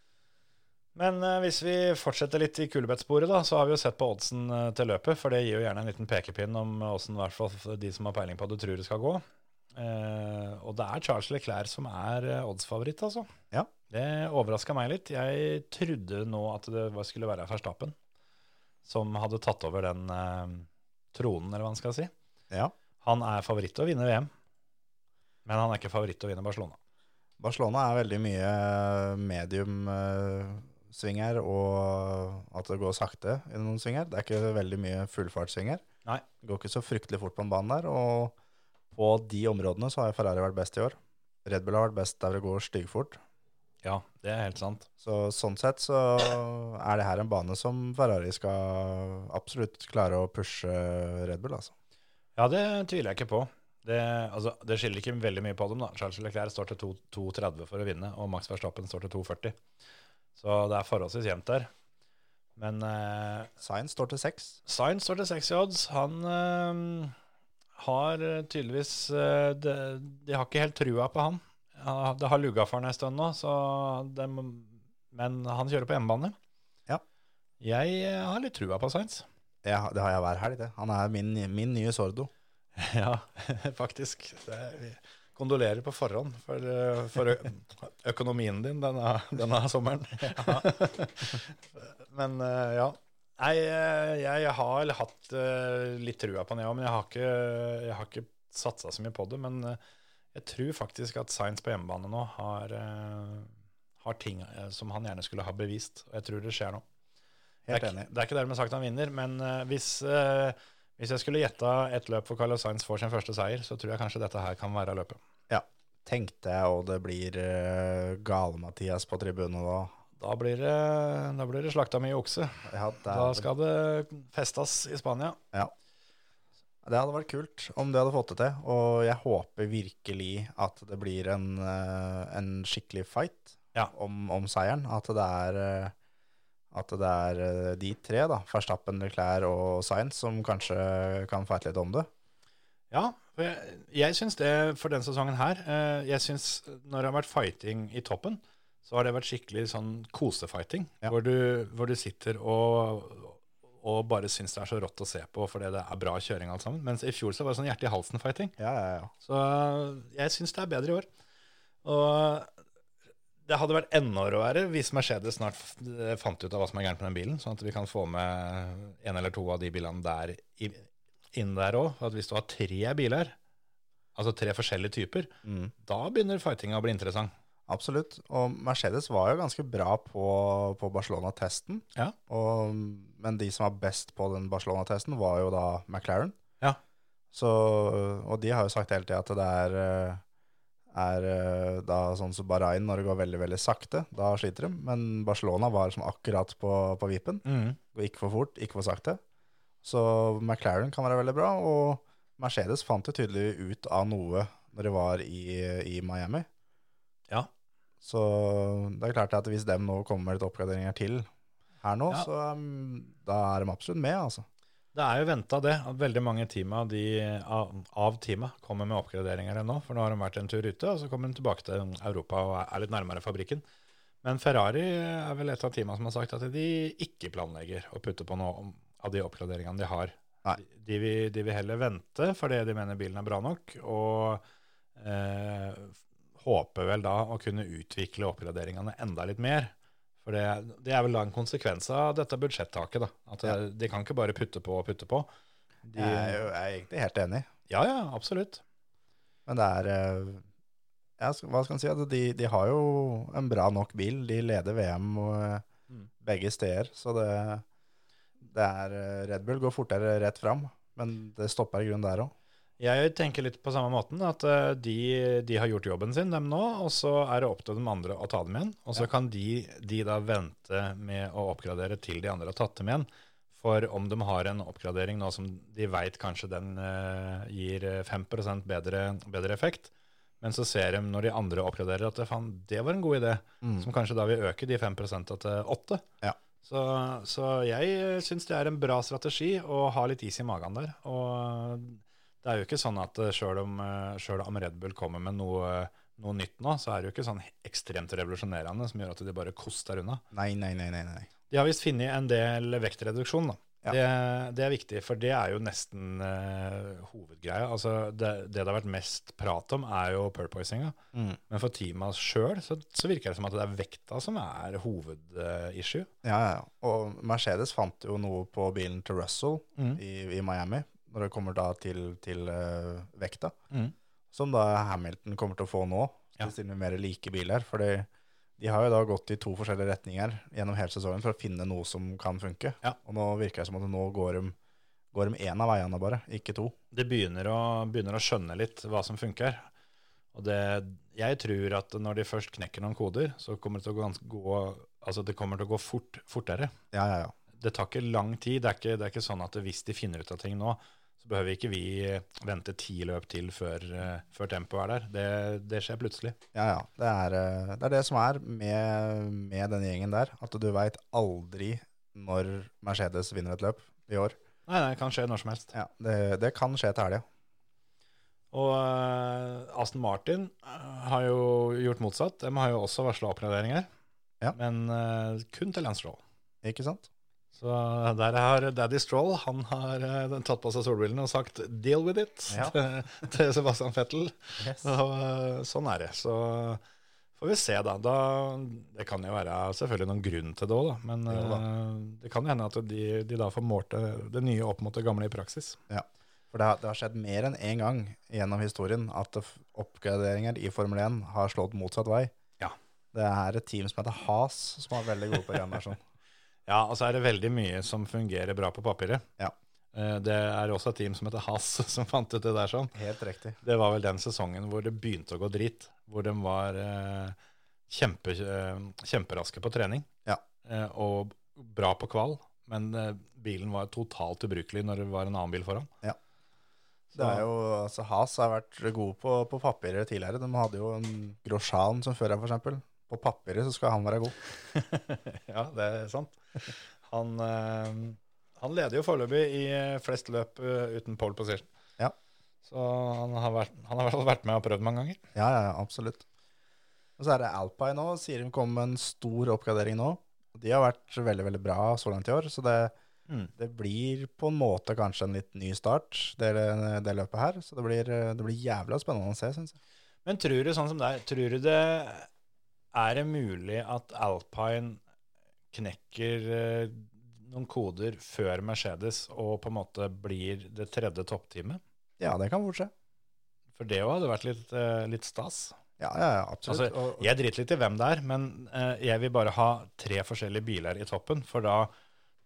Speaker 3: Men eh, hvis vi fortsetter litt i kulebettsporet, da, så har vi jo sett på oddsen eh, til løpet. For det gir jo gjerne en liten pekepinn om åssen i hvert fall de som har peiling på det, tror det skal gå. Eh, og det er Charles Leclerc som er eh, oddsfavoritt, altså.
Speaker 4: Ja.
Speaker 3: Det overraska meg litt. Jeg trodde nå at det var- skulle være Verstappen som hadde tatt over den eh, tronen, eller hva man skal si.
Speaker 4: Ja.
Speaker 3: Han er favoritt til å vinne VM, men han er ikke favoritt til å vinne Barcelona.
Speaker 4: Barcelona er veldig mye eh, medium-sving her, og at det går sakte i noen sving her. Det er ikke veldig mye fullfartssving her.
Speaker 3: Nei.
Speaker 4: Det går ikke så fryktelig fort på en bane der, og på de områdene så har jo Ferrari vært best i år. Red Bull har vært best der det går styggfort.
Speaker 3: Ja, det er helt sant.
Speaker 4: Så sånn sett så er det her en bane som Ferrari skal absolutt klare å pushe Red Bull, altså.
Speaker 3: Ja, det tviler jeg ikke på. Det, altså, det skiller ikke veldig mye på dem. da. Charles Leclerc står til 2- 2,30 for å vinne, og Max Verstappen står til 2,40. Så det er forholdsvis jevnt der. Men eh,
Speaker 4: Sainz står til seks.
Speaker 3: Sainz står til 6 i odds. Han eh, har tydeligvis eh, de, de har ikke helt trua på han. Ja, Det har lugga for han en stund nå, så det, må- men han kjører på hjemmebane.
Speaker 4: Ja.
Speaker 3: Jeg eh, har litt trua på Sainz.
Speaker 4: Jeg, det har jeg hver helg, det. Han er min, min nye Sordo.
Speaker 3: Ja, faktisk. Det er, vi kondolerer på forhånd for, eh, for ø- økonomien din denne, denne sommeren. men eh, ja. Nei, eh, jeg har hatt eh, litt trua på den, jeg òg, men jeg har ikke, jeg har ikke satsa så mye på det. Men eh, jeg tror faktisk at Science på hjemmebane nå har, eh, har ting eh, som han gjerne skulle ha bevist. Og jeg tror det skjer nå. Det
Speaker 4: Helt
Speaker 3: er,
Speaker 4: enig.
Speaker 3: ikke- det er ikke dermed sagt han vinner, men eh, hvis, eh, hvis jeg skulle gjetta et løp hvor Carlos Sainz får sin første seier, så tror jeg kanskje dette her kan være løpet.
Speaker 4: tenkte jeg, og det blir uh, Gale-Mathias på tribunen da.
Speaker 3: Da blir det, da blir det slakta mye okse.
Speaker 4: Ja, det,
Speaker 3: Da skal det festes i Spania.
Speaker 4: det hadde vært kult om det hadde fått det til, og jeg håper virkelig at det blir en, eh, en skikkelig fight
Speaker 3: Ja.
Speaker 4: om, om seieren. At det er, eh, at det er eh, de tre, da, Verstappen, Leclerc og Sainz, som kanskje kan fighte litt om det.
Speaker 3: Ja, for jeg, jeg syns det for denne sesongen her eh, Jeg syns når det har vært fighting i toppen, så har det vært skikkelig sånn kosefighting.
Speaker 4: Ja.
Speaker 3: Hvor, du, hvor du sitter og, og bare syns det er så rått å se på fordi det er bra kjøring alt sammen. Mens i fjor så var det sånn hjerte i halsen-fighting.
Speaker 4: Ja, ja, ja.
Speaker 3: Så eh, jeg syns det er bedre i år. Og det hadde vært enda råere hvis Mercedes snart f- eh, fant ut av hva som er gærent med den bilen, sånn at vi kan få med en eller to av de bilene der i- inn der òg. At hvis du har tre biler, altså tre forskjellige typer,
Speaker 4: Mm.
Speaker 3: da begynner fightinga å bli interessant.
Speaker 4: Absolutt. Og Mercedes var jo ganske bra på, på Barcelona-testen.
Speaker 3: Ja.
Speaker 4: Og, men de som var best på den Barcelona-testen, var jo da McLaren.
Speaker 3: Ja.
Speaker 4: Så, og de har jo sagt hele tida at det er, eh, er eh, da sånn som Bahrain, når det går veldig veldig sakte, da sliter de. Men Barcelona var sånn akkurat på, på vippen. Går ikke for fort, ikke for sakte. Så McLaren kan være veldig bra, og Mercedes fant jo tydelig ut av noe når de var i, i Miami.
Speaker 3: Ja.
Speaker 4: Så det er klart at hvis dem nå kommer med litt oppgraderinger til her nå,
Speaker 3: Ja.
Speaker 4: så um, da er de absolutt med, altså.
Speaker 3: Det er jo venta det, at veldig mange teama de, av, av teama kommer med oppgraderinger ennå. For nå har de vært en tur ute, og så kommer de tilbake til Europa og er litt nærmere fabrikken. Men Ferrari er vel et av teama som har sagt at de ikke planlegger å putte på noe om- av de oppgraderingene de har.
Speaker 4: Nei.
Speaker 3: De, vil, de vil heller vente fordi de mener bilen er bra nok, og eh, håper vel da å kunne utvikle oppgraderingene enda litt mer. For det, det er vel da en konsekvens av dette budsjettaket, da. At det, de kan ikke bare putte på og putte på. De,
Speaker 4: Jeg er, jo, jeg er egentlig helt enig.
Speaker 3: ja, ja, absolutt.
Speaker 4: Men det er eh, ja, sk- Hva skal man si? at De, de har jo en bra nok bil. De leder VM og eh,
Speaker 3: Mm.
Speaker 4: begge steder, så det, det er eh, Red Bull går fortere rett fram, men det stopper i grunnen der òg.
Speaker 3: Jeg tenker litt på samme måten, at eh, de, de har gjort jobben sin, dem nå, og så er det opp til de andre å ta dem igjen. Og så kan de, de da vente med å oppgradere til de andre har tatt dem igjen. For om de har en oppgradering nå som de veit kanskje den eh, gir eh, 5 bedre, bedre effekt, men så ser de når de andre oppgraderer at faen, det var en god idé, som kanskje da vil øke de 5 til 8
Speaker 4: Mm. Ja.
Speaker 3: Så, så jeg syns det er en bra strategi å ha litt is i magen der. og... Det er jo ikke sånn at eh, selv om, eh, selv om Red Bull kommer med noe, noe nytt nå, så er det jo ikke sånn ekstremt revolusjonerende som gjør at de bare koster unna.
Speaker 4: Nei, nei, nei. nei, nei.
Speaker 3: De har visst funnet en del vektreduksjon, da.
Speaker 4: Ja.
Speaker 3: Det, det er viktig, for det er jo nesten eh, hovedgreia. Altså, det, det det har vært mest prat om, er jo purpoisinga.
Speaker 4: Mm.
Speaker 3: Men for teama sjøl så, så virker det som at det er vekta som er eh, hovedissue.
Speaker 4: Ja, ja, ja. Og Mercedes fant jo noe på bilen til Russell
Speaker 3: Mm.
Speaker 4: i, i Miami, når det kommer da til, til eh, vekta.
Speaker 3: Mm.
Speaker 4: Som da Hamilton kommer til å få nå, til
Speaker 3: Ja.
Speaker 4: sine mer like biler. For de har jo da gått i to forskjellige retninger gjennom hele sesongen for å finne noe som kan funke.
Speaker 3: Ja.
Speaker 4: Og nå virker det som at nå går de går de én av veiene bare, ikke to.
Speaker 3: de begynner å, begynner å skjønne litt hva som funker. Og det, jeg tror at når de først knekker noen koder, så kommer det til å gå, gans- gå, altså det kommer til å gå fort, fortere.
Speaker 4: Ja, ja, ja.
Speaker 3: Det tar ikke lang tid. Det er ikke, det er ikke sånn at hvis de finner ut av ting nå, så behøver ikke vi vente ti løp til før, eh, før tempoet er der. Det, det skjer plutselig.
Speaker 4: Ja, ja. Det er eh, det, er det som er med, med den gjengen der, at du veit aldri når Mercedes vinner et løp i år.
Speaker 3: Nei, nei, det kan skje når som helst.
Speaker 4: Ja, Det, det kan skje til helga.
Speaker 3: Og eh, Aston Martin eh, har jo gjort motsatt. De har jo også varsla oppgraderinger,
Speaker 4: Ja.
Speaker 3: men eh, kun til Lance Stroll.
Speaker 4: Ikke sant?
Speaker 3: Så der har Daddy Stroll han har eh, den tatt på seg solbrillene og sagt 'deal with it'
Speaker 4: Ja.
Speaker 3: til, til Sebastian Fettel.
Speaker 4: Yes.
Speaker 3: Og, eh, sånn er det. Så får vi se, da. da. Det kan jo være selvfølgelig noen grunn til det òg, da. Men
Speaker 4: Jo da.
Speaker 3: eh, det kan jo hende at de, de da får målt det, det nye opp mot det gamle i praksis.
Speaker 4: For det har, det har skjedd mer enn én gang gjennom historien at det f- oppgraderinger i Formel 1 har slått motsatt vei.
Speaker 3: Ja.
Speaker 4: Det er et team som heter Has, som er veldig gode på gjenversjon.
Speaker 3: Ja, og så er det veldig mye som fungerer bra på papiret.
Speaker 4: Ja.
Speaker 3: Eh, Det er også et team som heter Haas som fant ut det der sånn.
Speaker 4: Helt riktig.
Speaker 3: Det var vel den sesongen hvor det begynte å gå drit. Hvor de var eh, kjempe, eh, kjemperaske på trening
Speaker 4: Ja.
Speaker 3: eh, og bra på kval. Men eh, bilen var totalt ubrukelig når det var en annen bil foran.
Speaker 4: Ja.
Speaker 3: Så,
Speaker 4: Det er jo, altså Has har vært gode på, på papiret tidligere. De hadde jo en Grosjean som fører, for eksempel. På papiret så skal han være god.
Speaker 3: ja, det er sant. Han, eh, han leder jo foreløpig i eh, flest løp eh, uten pole position.
Speaker 4: Ja.
Speaker 3: Så han har, vært, han har i hvert fall vært med og prøvd mange ganger.
Speaker 4: Ja, ja, ja, absolutt. Og så er det Alpine nå, sier de kommer med en stor oppgradering nå. De har vært veldig, veldig bra så langt i år, så det,
Speaker 3: Mm.
Speaker 4: det blir på en måte kanskje en litt ny start, det, det løpet her. Så det blir, det blir jævla spennende å se, synes jeg.
Speaker 3: Men tror du sånn som deg, tror du det er det mulig at Alpine knekker eh, noen koder før Mercedes og på en måte blir det tredje toppteamet?
Speaker 4: Ja, det kan fort skje.
Speaker 3: For det jo hadde vært litt, eh, litt stas.
Speaker 4: Ja, ja, ja, absolutt.
Speaker 3: Altså,
Speaker 4: Og-
Speaker 3: jeg driter litt i hvem det er, men eh, jeg vil bare ha tre forskjellige biler i toppen, for da,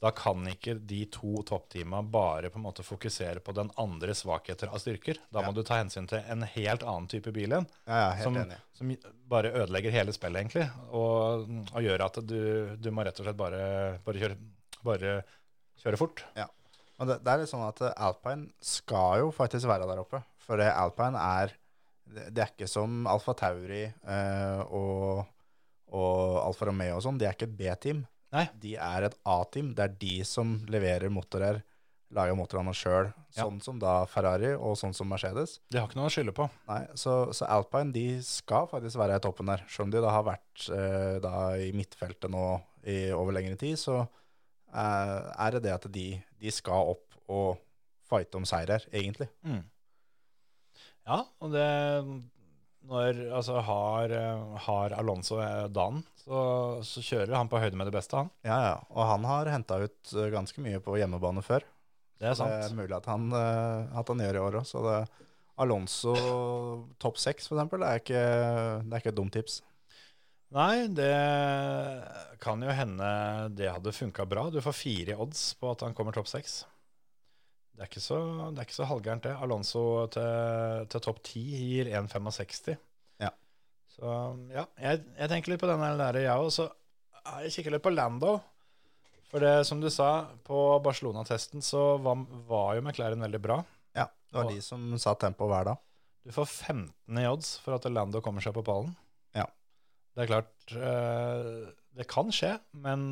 Speaker 3: da kan ikke de to toppteama bare på en måte fokusere på den andre svakheter av styrker. Da må du ta hensyn til en helt annen type bil igjen.
Speaker 4: ja, ja, helt
Speaker 3: som,
Speaker 4: enig.
Speaker 3: som bare ødelegger hele spillet, egentlig. Og, og gjør at du, du må rett og slett bare, bare, kjøre, bare kjøre fort.
Speaker 4: Ja. Men det, det er litt sånn at eh, Alpine skal jo faktisk være der oppe. For det Alpine er Det det er ikke som Alfa Tauri eh, og, og Alfa Romeo og sånn. De er ikke et B-team.
Speaker 3: Nei.
Speaker 4: De er et A-team. Det er de som leverer motorer, lager motorene sjøl.
Speaker 3: Ja.
Speaker 4: Sånn som da Ferrari, og sånn som Mercedes.
Speaker 3: De har ikke noe å skylde på.
Speaker 4: Nei, så, så Alpine de skal faktisk være i toppen der. Selv om de da har vært eh, da i midtfeltet nå i over lengre tid, så eh, er det det at de, de skal opp og fighte om seier, egentlig.
Speaker 3: Ja, og det når, altså, har, eh, har Alonso eh, dagen, så, så kjører han på høyde med det beste, han.
Speaker 4: Ja, ja. Og han har henta ut eh, ganske mye på hjemmebane før.
Speaker 3: Det er
Speaker 4: Det er
Speaker 3: sant.
Speaker 4: mulig at han, eh, at han gjør i år òg. Så det, Alonso topp seks, for eksempel, det er ikke, det er ikke et dumt tips.
Speaker 3: Nei, det kan jo hende det hadde funka bra. Du får fire i odds på at han kommer topp seks. Det er ikke så, det er ikke så halvgærent, det. Alonso til, til topp ti gir 1,65.
Speaker 4: Ja.
Speaker 3: Så ja, jeg, jeg tenker litt på denne der, jeg òg. Så har jeg kikker litt på Lando. For det, som du sa, på Barcelona-testen så var, var jo McLaren veldig bra.
Speaker 4: Ja, Det var
Speaker 3: Og-
Speaker 4: de som satte tempoet hver dag.
Speaker 3: Du får 15 i odds for at Lando kommer seg på pallen.
Speaker 4: Ja.
Speaker 3: Det er klart eh, Det kan skje, men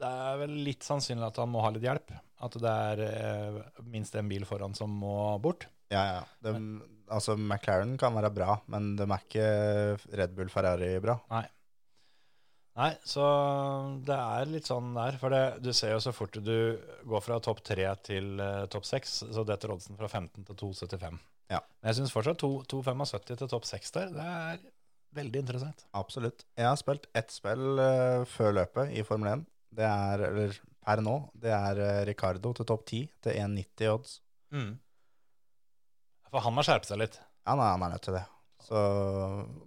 Speaker 3: det er vel litt sannsynlig at han må ha litt hjelp. At det er eh, minst en bil foran som må bort.
Speaker 4: Ja, ja. De, altså, McLaren kan være bra, men de er ikke Red Bull Ferrari bra.
Speaker 3: Nei, så det er litt sånn der. For det, du ser jo så fort du går fra topp tre til eh, topp seks, så detter oddsen fra 15 til 2,75.
Speaker 4: Ja.
Speaker 3: Men jeg syns fortsatt to- 2,75 til topp seks der, det er veldig interessant.
Speaker 4: Absolutt. Jeg har spilt ett spill eh, før løpet i Formel 1. Det er, eller per nå, det er eh, Ricardo til topp 10 til 1,90 odds.
Speaker 3: Mm. For han må skjerpe seg litt.
Speaker 4: Ja, nei, han er nødt til det. Så,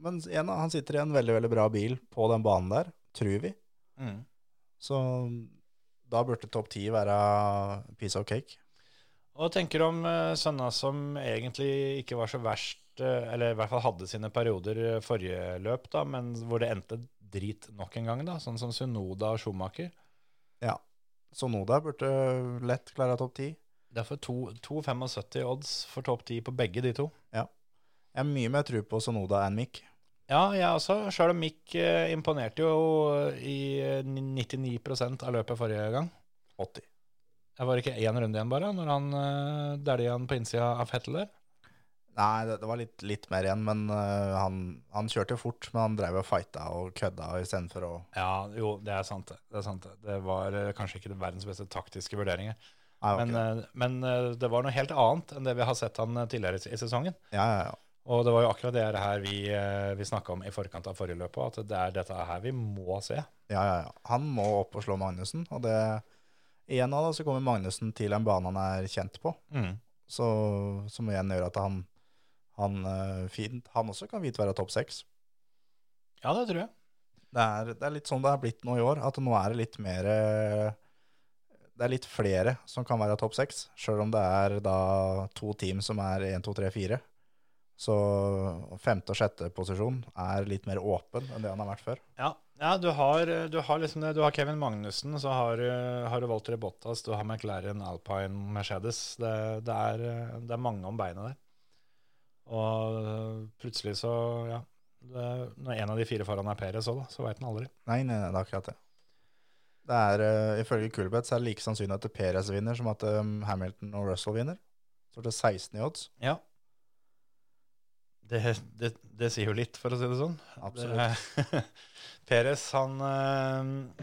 Speaker 4: men igjen, da, han sitter i en veldig, veldig bra bil på den banen der, tror vi.
Speaker 3: Mm.
Speaker 4: Så da burde topp 10 være piece of cake.
Speaker 3: Og tenker om eh, sønna som egentlig ikke var så verst, eh, eller i hvert fall hadde sine perioder eh, forrige løp, da, men hvor det endte drit nok en gang, da, sånn som Sunoda og Schumacher.
Speaker 4: Så Noda burde lett klare topp 10.
Speaker 3: Derfor 2,75 odds for topp 10 på begge de to.
Speaker 4: Jeg har mye mer tro på Sonoda enn Mick.
Speaker 3: Ja, jeg også. Sjøl om Mick eh, imponerte jo i eh, 99 av løpet forrige gang.
Speaker 4: 80.
Speaker 3: Jeg var ikke én runde igjen, bare, når han uh, dælja han på innsida av Fettel der.
Speaker 4: Nei, det, det var litt, litt mer igjen, men øh, han, han kjørte jo fort, men han drev og fighta og kødda istedenfor å
Speaker 3: Ja, jo, det er sant, det. Det, er sant, det. det var eh, kanskje ikke det verdens beste taktiske vurderinger.
Speaker 4: Nei, det var
Speaker 3: Men,
Speaker 4: ikke det.
Speaker 3: eh, men eh, det var noe helt annet enn det vi har sett han eh, tidligere i s- i sesongen.
Speaker 4: Ja, ja, ja.
Speaker 3: Og det var jo akkurat det her vi, eh, vi snakka om i forkant av forrige løp òg, at det er dette her vi må se.
Speaker 4: ja, ja, ja. Han må opp og slå Magnussen, og det igjen nå da, så kommer Magnussen til en bane han er kjent på, så, som igjen gjør at han, han, øh, fint, han også kan vidt være topp seks.
Speaker 3: Ja, det tror jeg.
Speaker 4: Det er, det er litt sånn det er blitt nå i år, at nå er det litt mer øh, Det er litt flere som kan være topp seks, sjøl om det er da to team som er 1, 2, 3, 4. Så femte og sjette posisjon er litt mer åpen enn det han har vært før.
Speaker 3: Ja, ja du, har, eh, du, har liksom det, du har Kevin Magnussen, så har, du- har du Walter Bottas, du har McLaren, Alpine, Mercedes. Det, det, er, eh, det er mange om beinet der. Og eh, plutselig så, ja det, Når en av de fire foran er Perez òg, da, så veit en aldri.
Speaker 4: Nei, nei, nei, det er akkurat det. Det er, eh, Ifølge Kulbeth så er det like sannsynlig at Perez vinner som at eh, Hamilton og Russell vinner. Så det er 16 i odds.
Speaker 3: Ja. Det, det, det sier jo litt, for å si det sånn.
Speaker 4: Absolutt.
Speaker 3: Det- Peres, han eh,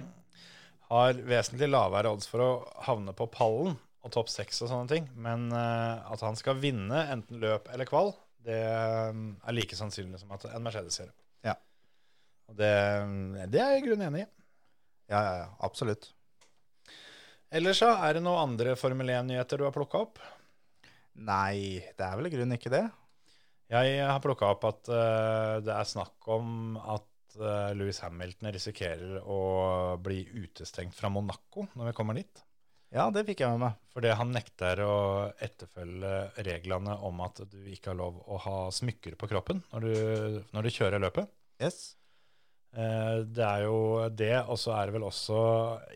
Speaker 3: har vesentlig lavere odds for å havne på pallen og topp seks og sånne ting, men eh, at han skal vinne enten løp eller kval, det eh, er like sannsynlig som at en Mercedes gjør det.
Speaker 4: Ja.
Speaker 3: Og det, det er jeg i grunnen enig i.
Speaker 4: Ja, ja, ja. Absolutt.
Speaker 3: Ellers så er det noen andre Formel 1-nyheter du har plukka opp?
Speaker 4: Nei, det er vel i grunnen ikke det.
Speaker 3: Jeg har plukka opp at eh, det er snakk om at eh, Lewis Hamilton risikerer å bli utestengt fra Monaco når vi kommer dit.
Speaker 4: Ja, det fikk jeg med meg.
Speaker 3: Fordi han nekter å etterfølge reglene om at du ikke har lov å ha smykker på kroppen når du, når du kjører løpet.
Speaker 4: Yes.
Speaker 3: Eh, Det er jo det, og så er det vel også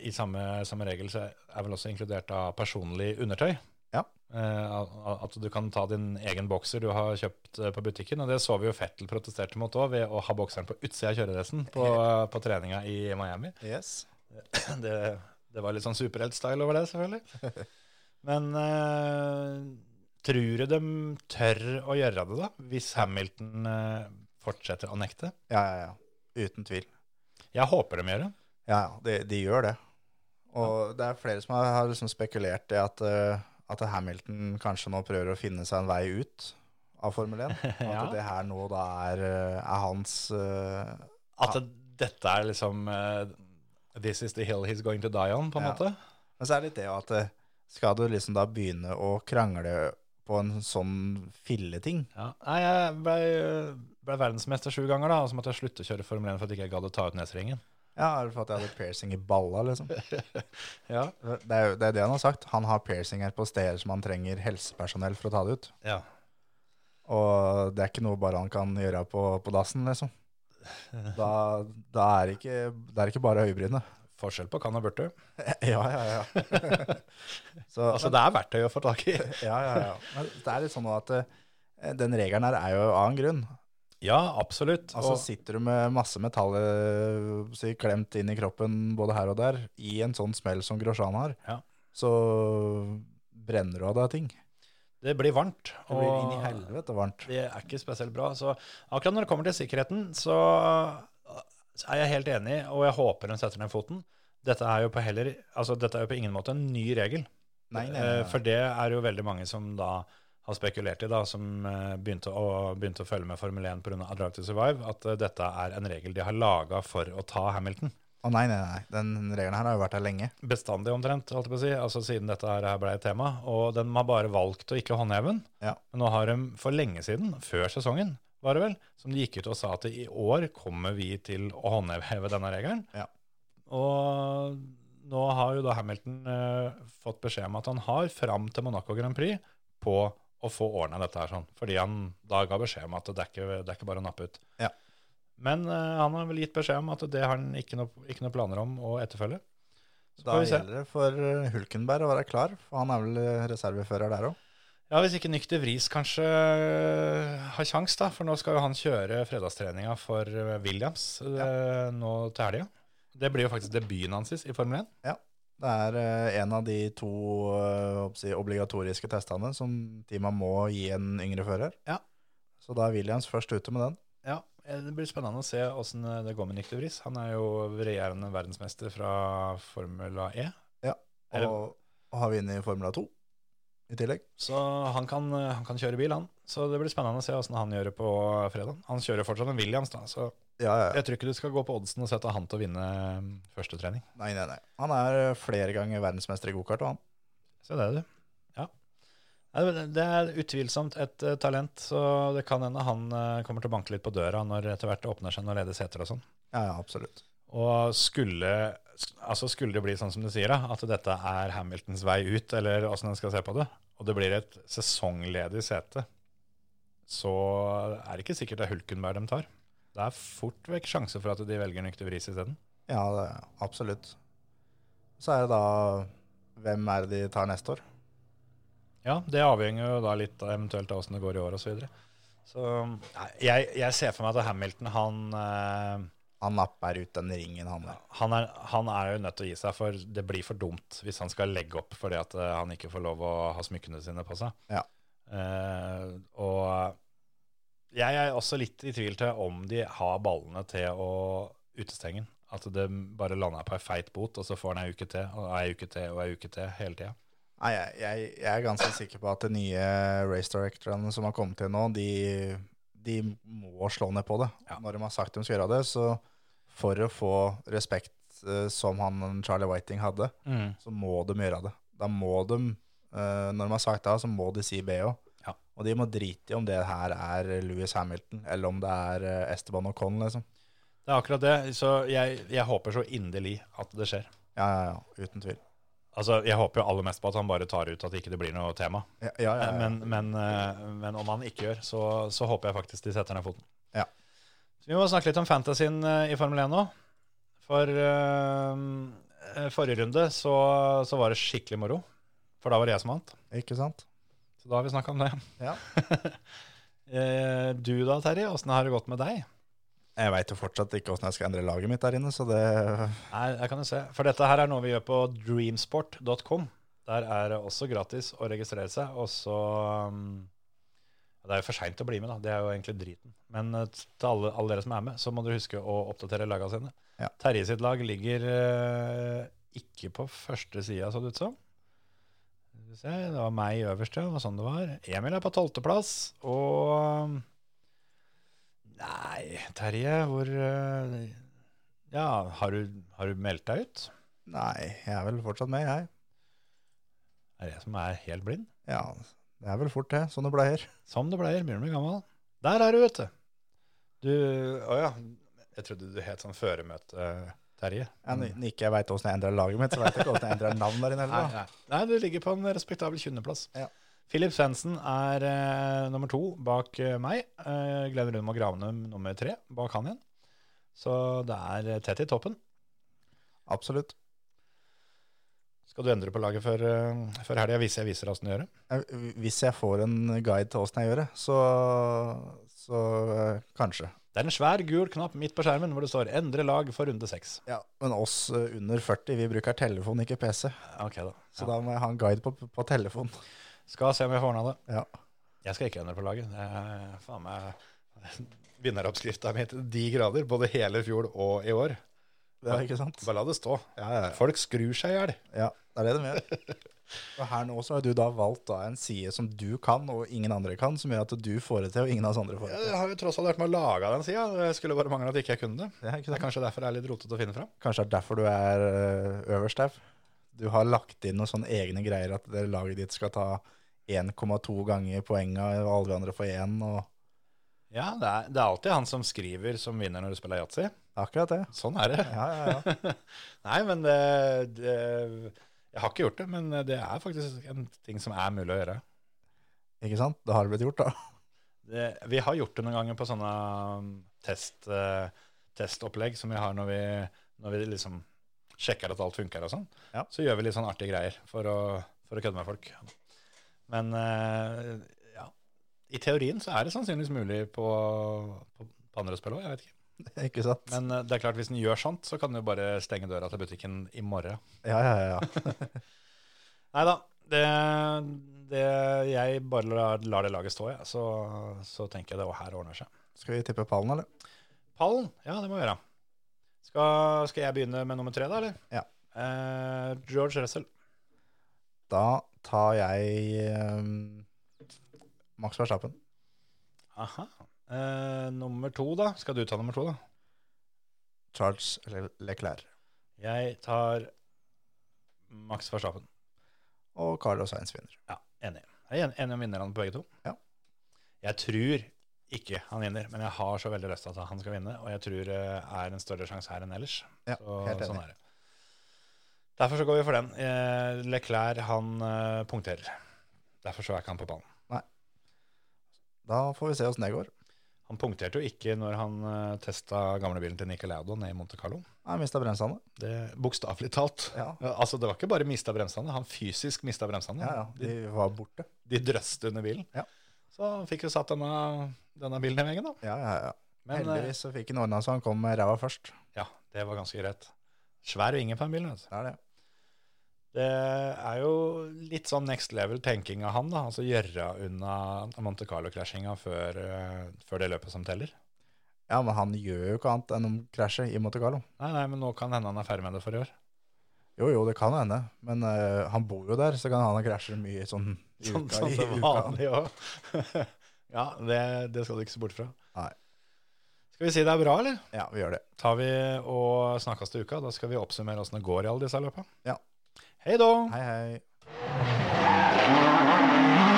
Speaker 3: i samme, samme regel så er vel også inkludert av personlig undertøy.
Speaker 4: Ja.
Speaker 3: Eh, al- At du kan ta din egen bokser du har kjøpt eh, på butikken. Og det så vi jo Fettel protesterte mot òg, ved å ha bokseren på utsida av kjøredressen på, på treninga i Miami.
Speaker 4: Yes.
Speaker 3: Det, det var litt sånn superhelt-style over det, selvfølgelig. Men eh, tror du de tør å gjøre det, da? Hvis Hamilton eh, fortsetter å nekte?
Speaker 4: Ja, ja, ja. Uten tvil.
Speaker 3: Jeg håper de gjør det.
Speaker 4: Ja, ja, de, de gjør det. Og det er flere som har, har liksom spekulert i at, eh, at Hamilton kanskje nå prøver å finne seg en vei ut av Formel 1. Og
Speaker 3: Ja.
Speaker 4: At det her nå da er, eh, er hans eh,
Speaker 3: At det, dette er liksom eh, This is the hill he's going to die on, på en
Speaker 4: Ja.
Speaker 3: måte.
Speaker 4: Men så er det litt det jo at eh, skal du liksom da begynne å krangle på en sånn filleting
Speaker 3: Nei, jeg ble, ble verdensmester sju ganger, da, og så måtte jeg slutte å kjøre Formel 1 for at jeg ikke gadd å ta ut neseringen.
Speaker 4: Ja, er det for at jeg hadde piercing i balla, liksom?
Speaker 3: Ja.
Speaker 4: Det er jo det, er det han har sagt. Han har piercinger på steder som han trenger helsepersonell for å ta det ut.
Speaker 3: ja.
Speaker 4: Og det er ikke noe bare han kan gjøre på, på dassen, liksom. Da, da er det ikke, det er ikke bare øyebrynet.
Speaker 3: Forskjell på kan og burde.
Speaker 4: Ja, ja, ja. Så,
Speaker 3: Altså, det er verktøy å få tak i.
Speaker 4: ja, ja, ja. Men det er litt sånn nå at eh, den regelen her er jo av en grunn.
Speaker 3: Ja, absolutt.
Speaker 4: Altså
Speaker 3: og,
Speaker 4: sitter du med masse metall eh, si, klemt inn i kroppen både her og der, i en sånn smell som Grosjean har,
Speaker 3: Ja.
Speaker 4: så brenner du av deg ting.
Speaker 3: det blir varmt.
Speaker 4: Det blir
Speaker 3: og-
Speaker 4: inn i helvete varmt.
Speaker 3: Det er ikke spesielt bra. Så akkurat når det kommer til sikkerheten, så er jeg helt enig, og jeg håper de setter ned foten. Dette er jo på, heller, altså, dette er jo på ingen måte en ny regel.
Speaker 4: Nei, nei, nei, nei.
Speaker 3: Eh, For det er jo veldig mange som da har spekulert i, da, som eh, begynte å, begynte å følge med Formel 1 pga. Drive to Survive, at eh, dette er en regel de har laga for å ta Hamilton.
Speaker 4: Å nei, nei, nei. Den regelen her har jo vært her lenge.
Speaker 3: Bestandig omtrent, holdt jeg på å si, altså siden dette her her ble et tema. Og de har bare valgt å ikke håndheve den.
Speaker 4: Ja.
Speaker 3: Men nå har de for lenge siden, før sesongen, var det vel, som de gikk ut og sa at i år kommer vi til å håndheve denne regelen.
Speaker 4: Ja.
Speaker 3: Og nå har jo da Hamilton eh, fått beskjed om at han har fram til Monaco Grand Prix på å få ordna dette her sånn, fordi han da ga beskjed om at det er ikke, det er ikke bare å nappe ut.
Speaker 4: Ja.
Speaker 3: Men eh, han har vel gitt beskjed om at det har han ikke noe ikke noe planer om å etterfølge. Så
Speaker 4: Da
Speaker 3: får vi se.
Speaker 4: gjelder det for eh, Hulkenberg å være klar, for han er vel eh, reservefører der òg.
Speaker 3: Ja, Hvis ikke Nykter Vris kanskje eh, har kjangs, da. For nå skal jo han kjøre fredagstreninga for eh, Williams eh, nå til helga. Det blir jo faktisk debuten hans i Formel 1.
Speaker 4: Det er eh, en av de to eh, hva skal jeg si, obligatoriske testene som teamet må gi en yngre fører.
Speaker 3: Ja.
Speaker 4: Så da er Williams først ute med den.
Speaker 3: Ja, eh, Det blir spennende å se åssen eh, det går med Nykter Vris. Han er jo regjerende verdensmester fra Formula E. Er det-
Speaker 4: Og, og har vunnet Formula 2 i tillegg.
Speaker 3: Så han kan, eh, han kan kjøre bil, han. Så det blir spennende å se åssen han gjør det på eh, fredag. Han kjører fortsatt en Williams, da. Så
Speaker 4: Ja, ja, ja.
Speaker 3: jeg tror ikke du skal gå på oddsen og sette han til å vinne eh, første trening.
Speaker 4: Nei, nei, nei. Han er eh, flere ganger verdensmester i gokart, og han.
Speaker 3: Se det, du. Ja. Nei, men Det er utvilsomt et eh, talent, så det kan hende han eh, kommer til å banke litt på døra når etter hvert det åpner seg noen ledige seter og sånn.
Speaker 4: Ja, ja, absolutt.
Speaker 3: Og skulle, altså skulle det bli sånn som du sier, da, at dette er Hamiltons vei ut, eller åssen en skal se på det, og det blir et sesongledig sete, så er det ikke sikkert det er Hulkenberg de tar. Det er fort vekk sjanse for at de velger Nykter Vris isteden.
Speaker 4: Ja, det, absolutt. Så er det da Hvem er det de tar neste år?
Speaker 3: Ja, det avhenger jo da litt av eventuelt av åssen det går i år osv. Så, videre. så nei, jeg, jeg ser for meg at Hamilton, han, eh,
Speaker 4: Han napper ut den ringen, han der.
Speaker 3: han, er, han er jo nødt til å gi seg, for det blir for dumt hvis han skal legge opp fordi at eh, han ikke får lov å ha smykkene sine på seg.
Speaker 4: Ja.
Speaker 3: Eh, og jeg er også litt i tvil til om de har ballene til å utestenge den. At det bare lander på ei feit bot, og så får han ei uke til, og ei uke til, og ei uke til hele tida.
Speaker 4: Nei, jeg, jeg, jeg er ganske sikker på at de nye race directorene som har kommet til nå, de, de må slå ned på det.
Speaker 3: Ja.
Speaker 4: Når de har sagt de skal gjøre det, så for å få respekt eh, som han Charlie Whiting hadde,
Speaker 3: Mm.
Speaker 4: så må de gjøre det. Da må de, eh, når de har sagt det, så må de si BH.
Speaker 3: Ja.
Speaker 4: Og de må drite i om det her er Lewis Hamilton, eller om det er eh, Esteban Ocon, liksom.
Speaker 3: Det er akkurat det. Så jeg, jeg håper så inderlig at det skjer.
Speaker 4: Ja, ja, ja, uten tvil.
Speaker 3: Altså, Jeg håper jo aller mest på at han bare tar ut at ikke det blir noe tema.
Speaker 4: Ja, ja, ja, ja.
Speaker 3: Men, men, eh, men om han ikke gjør, så, så håper jeg faktisk de setter ned foten.
Speaker 4: Ja.
Speaker 3: Så vi må snakke litt om fantasyen eh, i Formel 1 nå. For eh, forrige runde så, så var det skikkelig moro. For da var det jeg som vant.
Speaker 4: Ikke sant?
Speaker 3: Så da har vi snakka om det.
Speaker 4: Ja.
Speaker 3: Eh, du da, Terje, åssen har det gått med deg?
Speaker 4: Jeg veit jo fortsatt ikke åssen jeg skal endre laget mitt der inne, så det
Speaker 3: Nei, det kan du se. For dette her er noe vi gjør på dreamsport.com. Der er det også gratis å registrere seg. Og så um, Det er jo for seint å bli med, da. Det er jo egentlig driten. Men eh, til alle, alle dere som er med, så må dere huske å oppdatere laga sine.
Speaker 4: Ja.
Speaker 3: Terje sitt lag ligger eh, ikke på første sida, så det ut som. Skal vi se, Det var meg øverst, ja. Det var sånn det var. Emil er på tolvteplass. Og um, Nei, Terje, hvor eh, ja, har du, har du meldt deg ut?
Speaker 4: Nei, jeg er vel fortsatt med, jeg.
Speaker 3: Er det jeg som er helt blind?
Speaker 4: Ja, det er vel fort det, sånn det pleier.
Speaker 3: Som det pleier, begynner å bli gammel. Der er du, vet du. Du Å ja. Jeg trodde du het sånn føremøte-Terje.
Speaker 4: Ja, Når når ikke jeg veit åssen jeg endrer laget mitt, så veit jeg ikke åssen jeg endrer navn der inne
Speaker 3: Mm. Nei,
Speaker 4: heller. da.
Speaker 3: nei. nei, du ligger på en respektabel 20.-plass.
Speaker 4: Ja.
Speaker 3: Philip Svendsen er eh, nummer to bak eh, meg. Eh, Glenn Rundmo Gravnum nummer tre bak han igjen. Så det er eh, tett i toppen.
Speaker 4: Absolutt.
Speaker 3: Skal du endre på laget før, eh, før helga, hvis jeg viser deg åssen du gjør det?
Speaker 4: Jeg- Eh, Hvis jeg får en guide til åssen jeg gjør det, så, så eh, kanskje.
Speaker 3: Det er en svær gul knapp midt på skjermen hvor det står 'Endre lag for runde seks'.
Speaker 4: Ja, Men oss eh, under 40, vi bruker telefon, ikke PC.
Speaker 3: Ok, da.
Speaker 4: Så da må jeg ha en guide på, på telefon.
Speaker 3: Skal se om jeg får ordna det.
Speaker 4: Ja.
Speaker 3: Jeg skal ikke endre på laget. Det er faen meg vinneroppskrifta mi til de grader, både hele fjor og i år.
Speaker 4: Det er ikke sant?
Speaker 3: Bare la det stå.
Speaker 4: Ja, ja, ja.
Speaker 3: Folk skrur seg i hjel.
Speaker 4: Ja, det er det de gjør. Og her nå så har du da valgt da en side som du kan, og ingen andre kan, som gjør at du får det til, og ingen av oss andre får det til.
Speaker 3: Jeg har jo tross alt vært med å lage den sida. Det skulle bare mangle at ikke jeg kunne det.
Speaker 4: Det er ikke
Speaker 3: Det er
Speaker 4: sant?
Speaker 3: kanskje derfor det er litt rotete å finne fram.
Speaker 4: Kanskje det er derfor du er øh, øverst der. Du har lagt inn noen sånne egne greier at det laget ditt skal ta 1,2 ganger poenga, og alle de andre får 1, og
Speaker 3: Ja, det er, det er alltid han som skriver, som vinner når du spiller yatzy.
Speaker 4: akkurat det.
Speaker 3: Sånn er det.
Speaker 4: Ja, ja, ja.
Speaker 3: Nei, men det, det Jeg har ikke gjort det, men eh, det er faktisk en ting som er mulig å gjøre.
Speaker 4: Ikke sant? Det har det blitt gjort, da.
Speaker 3: det, vi har gjort det noen ganger på sånne um, test, eh, testopplegg som vi har når vi, når vi liksom sjekker at alt funker og sånn.
Speaker 4: Ja.
Speaker 3: Så gjør vi litt sånn artige greier for å, for å kødde med folk. Men eh, ja, i teorien så er det sannsynligvis mulig på, på, på andre spill òg, jeg vet ikke.
Speaker 4: Ikke sant?
Speaker 3: Men eh, det er klart, hvis en gjør sånt, så kan du jo bare stenge døra til butikken i morgen.
Speaker 4: Ja, ja, ja, ja.
Speaker 3: Nei da. Det, det, jeg bare lar, lar det laget stå, jeg. Så, så tenker jeg det her ordner seg.
Speaker 4: Skal vi tippe pallen, eller?
Speaker 3: Pallen? Ja, det må vi gjøre. Skal, skal jeg begynne med nummer tre, da, eller?
Speaker 4: Ja.
Speaker 3: Eh, George Russell.
Speaker 4: Da tar jeg øhm, Max Verstappen.
Speaker 3: Aha. Eh, nummer to, da. Skal du ta nummer to, da?
Speaker 4: Charles Le- Leclerc.
Speaker 3: Jeg tar Max Verstappen.
Speaker 4: Og Carlos Sainz vinner.
Speaker 3: Ja, enig. Jeg er en- enig om vinnerne på begge to.
Speaker 4: Ja.
Speaker 3: Jeg tror ikke han vinner, men jeg har så veldig lyst til at han skal vinne, og jeg tror det er en større sjanse her enn ellers.
Speaker 4: Ja,
Speaker 3: Så,
Speaker 4: helt enig.
Speaker 3: sånn er det. Derfor så går vi for den. Eh, Leclerc, han eh, punkterer. Derfor så er ikke han på ballen.
Speaker 4: Da får vi se åssen det går.
Speaker 3: Han punkterte jo ikke når han eh, testa gamlebilen til Nicolaudo ned i Monte Carlo.
Speaker 4: Jeg mista bremsene.
Speaker 3: Det Bokstavelig talt.
Speaker 4: Ja.
Speaker 3: Ja, Altså, det var ikke bare mista bremsene, han fysisk mista bremsene.
Speaker 4: Ja, ja.
Speaker 3: De,
Speaker 4: De var borte.
Speaker 3: de drøste under bilen.
Speaker 4: Ja.
Speaker 3: Så han fikk jo satt denne, denne bilen i veggen, da.
Speaker 4: Ja, ja, ja.
Speaker 3: Men eh,
Speaker 4: Heldigvis så fikk han ordna så han kom med ræva først.
Speaker 3: ja, det var ganske greit. Svær vinge på den bilen. Altså.
Speaker 4: Det er det.
Speaker 3: Det er jo litt sånn next level-tenking av han, da. Altså gjøre unna Monte Carlo-krasjinga før, eh, før det løpet som teller.
Speaker 4: Ja, men han gjør jo ikke annet enn å krasje i Monte Carlo.
Speaker 3: Nei, nei, men nå kan hende han er ferdig med det for i år.
Speaker 4: Jo, jo, det kan hende, men eh, han bor jo der, så kan han krasje mye sånn i
Speaker 3: Sånn
Speaker 4: uka.
Speaker 3: som
Speaker 4: i
Speaker 3: det
Speaker 4: uka.
Speaker 3: vanlige òg. ja, det, det skal du ikke se bort fra.
Speaker 4: Nei.
Speaker 3: Skal vi si det er bra, eller?
Speaker 4: Ja, vi gjør det.
Speaker 3: Tar vi og snakkes til uka. Da skal vi oppsummere åssen det går i alle disse løpa.
Speaker 4: Ja.
Speaker 3: Hei da!
Speaker 4: Hei, hei.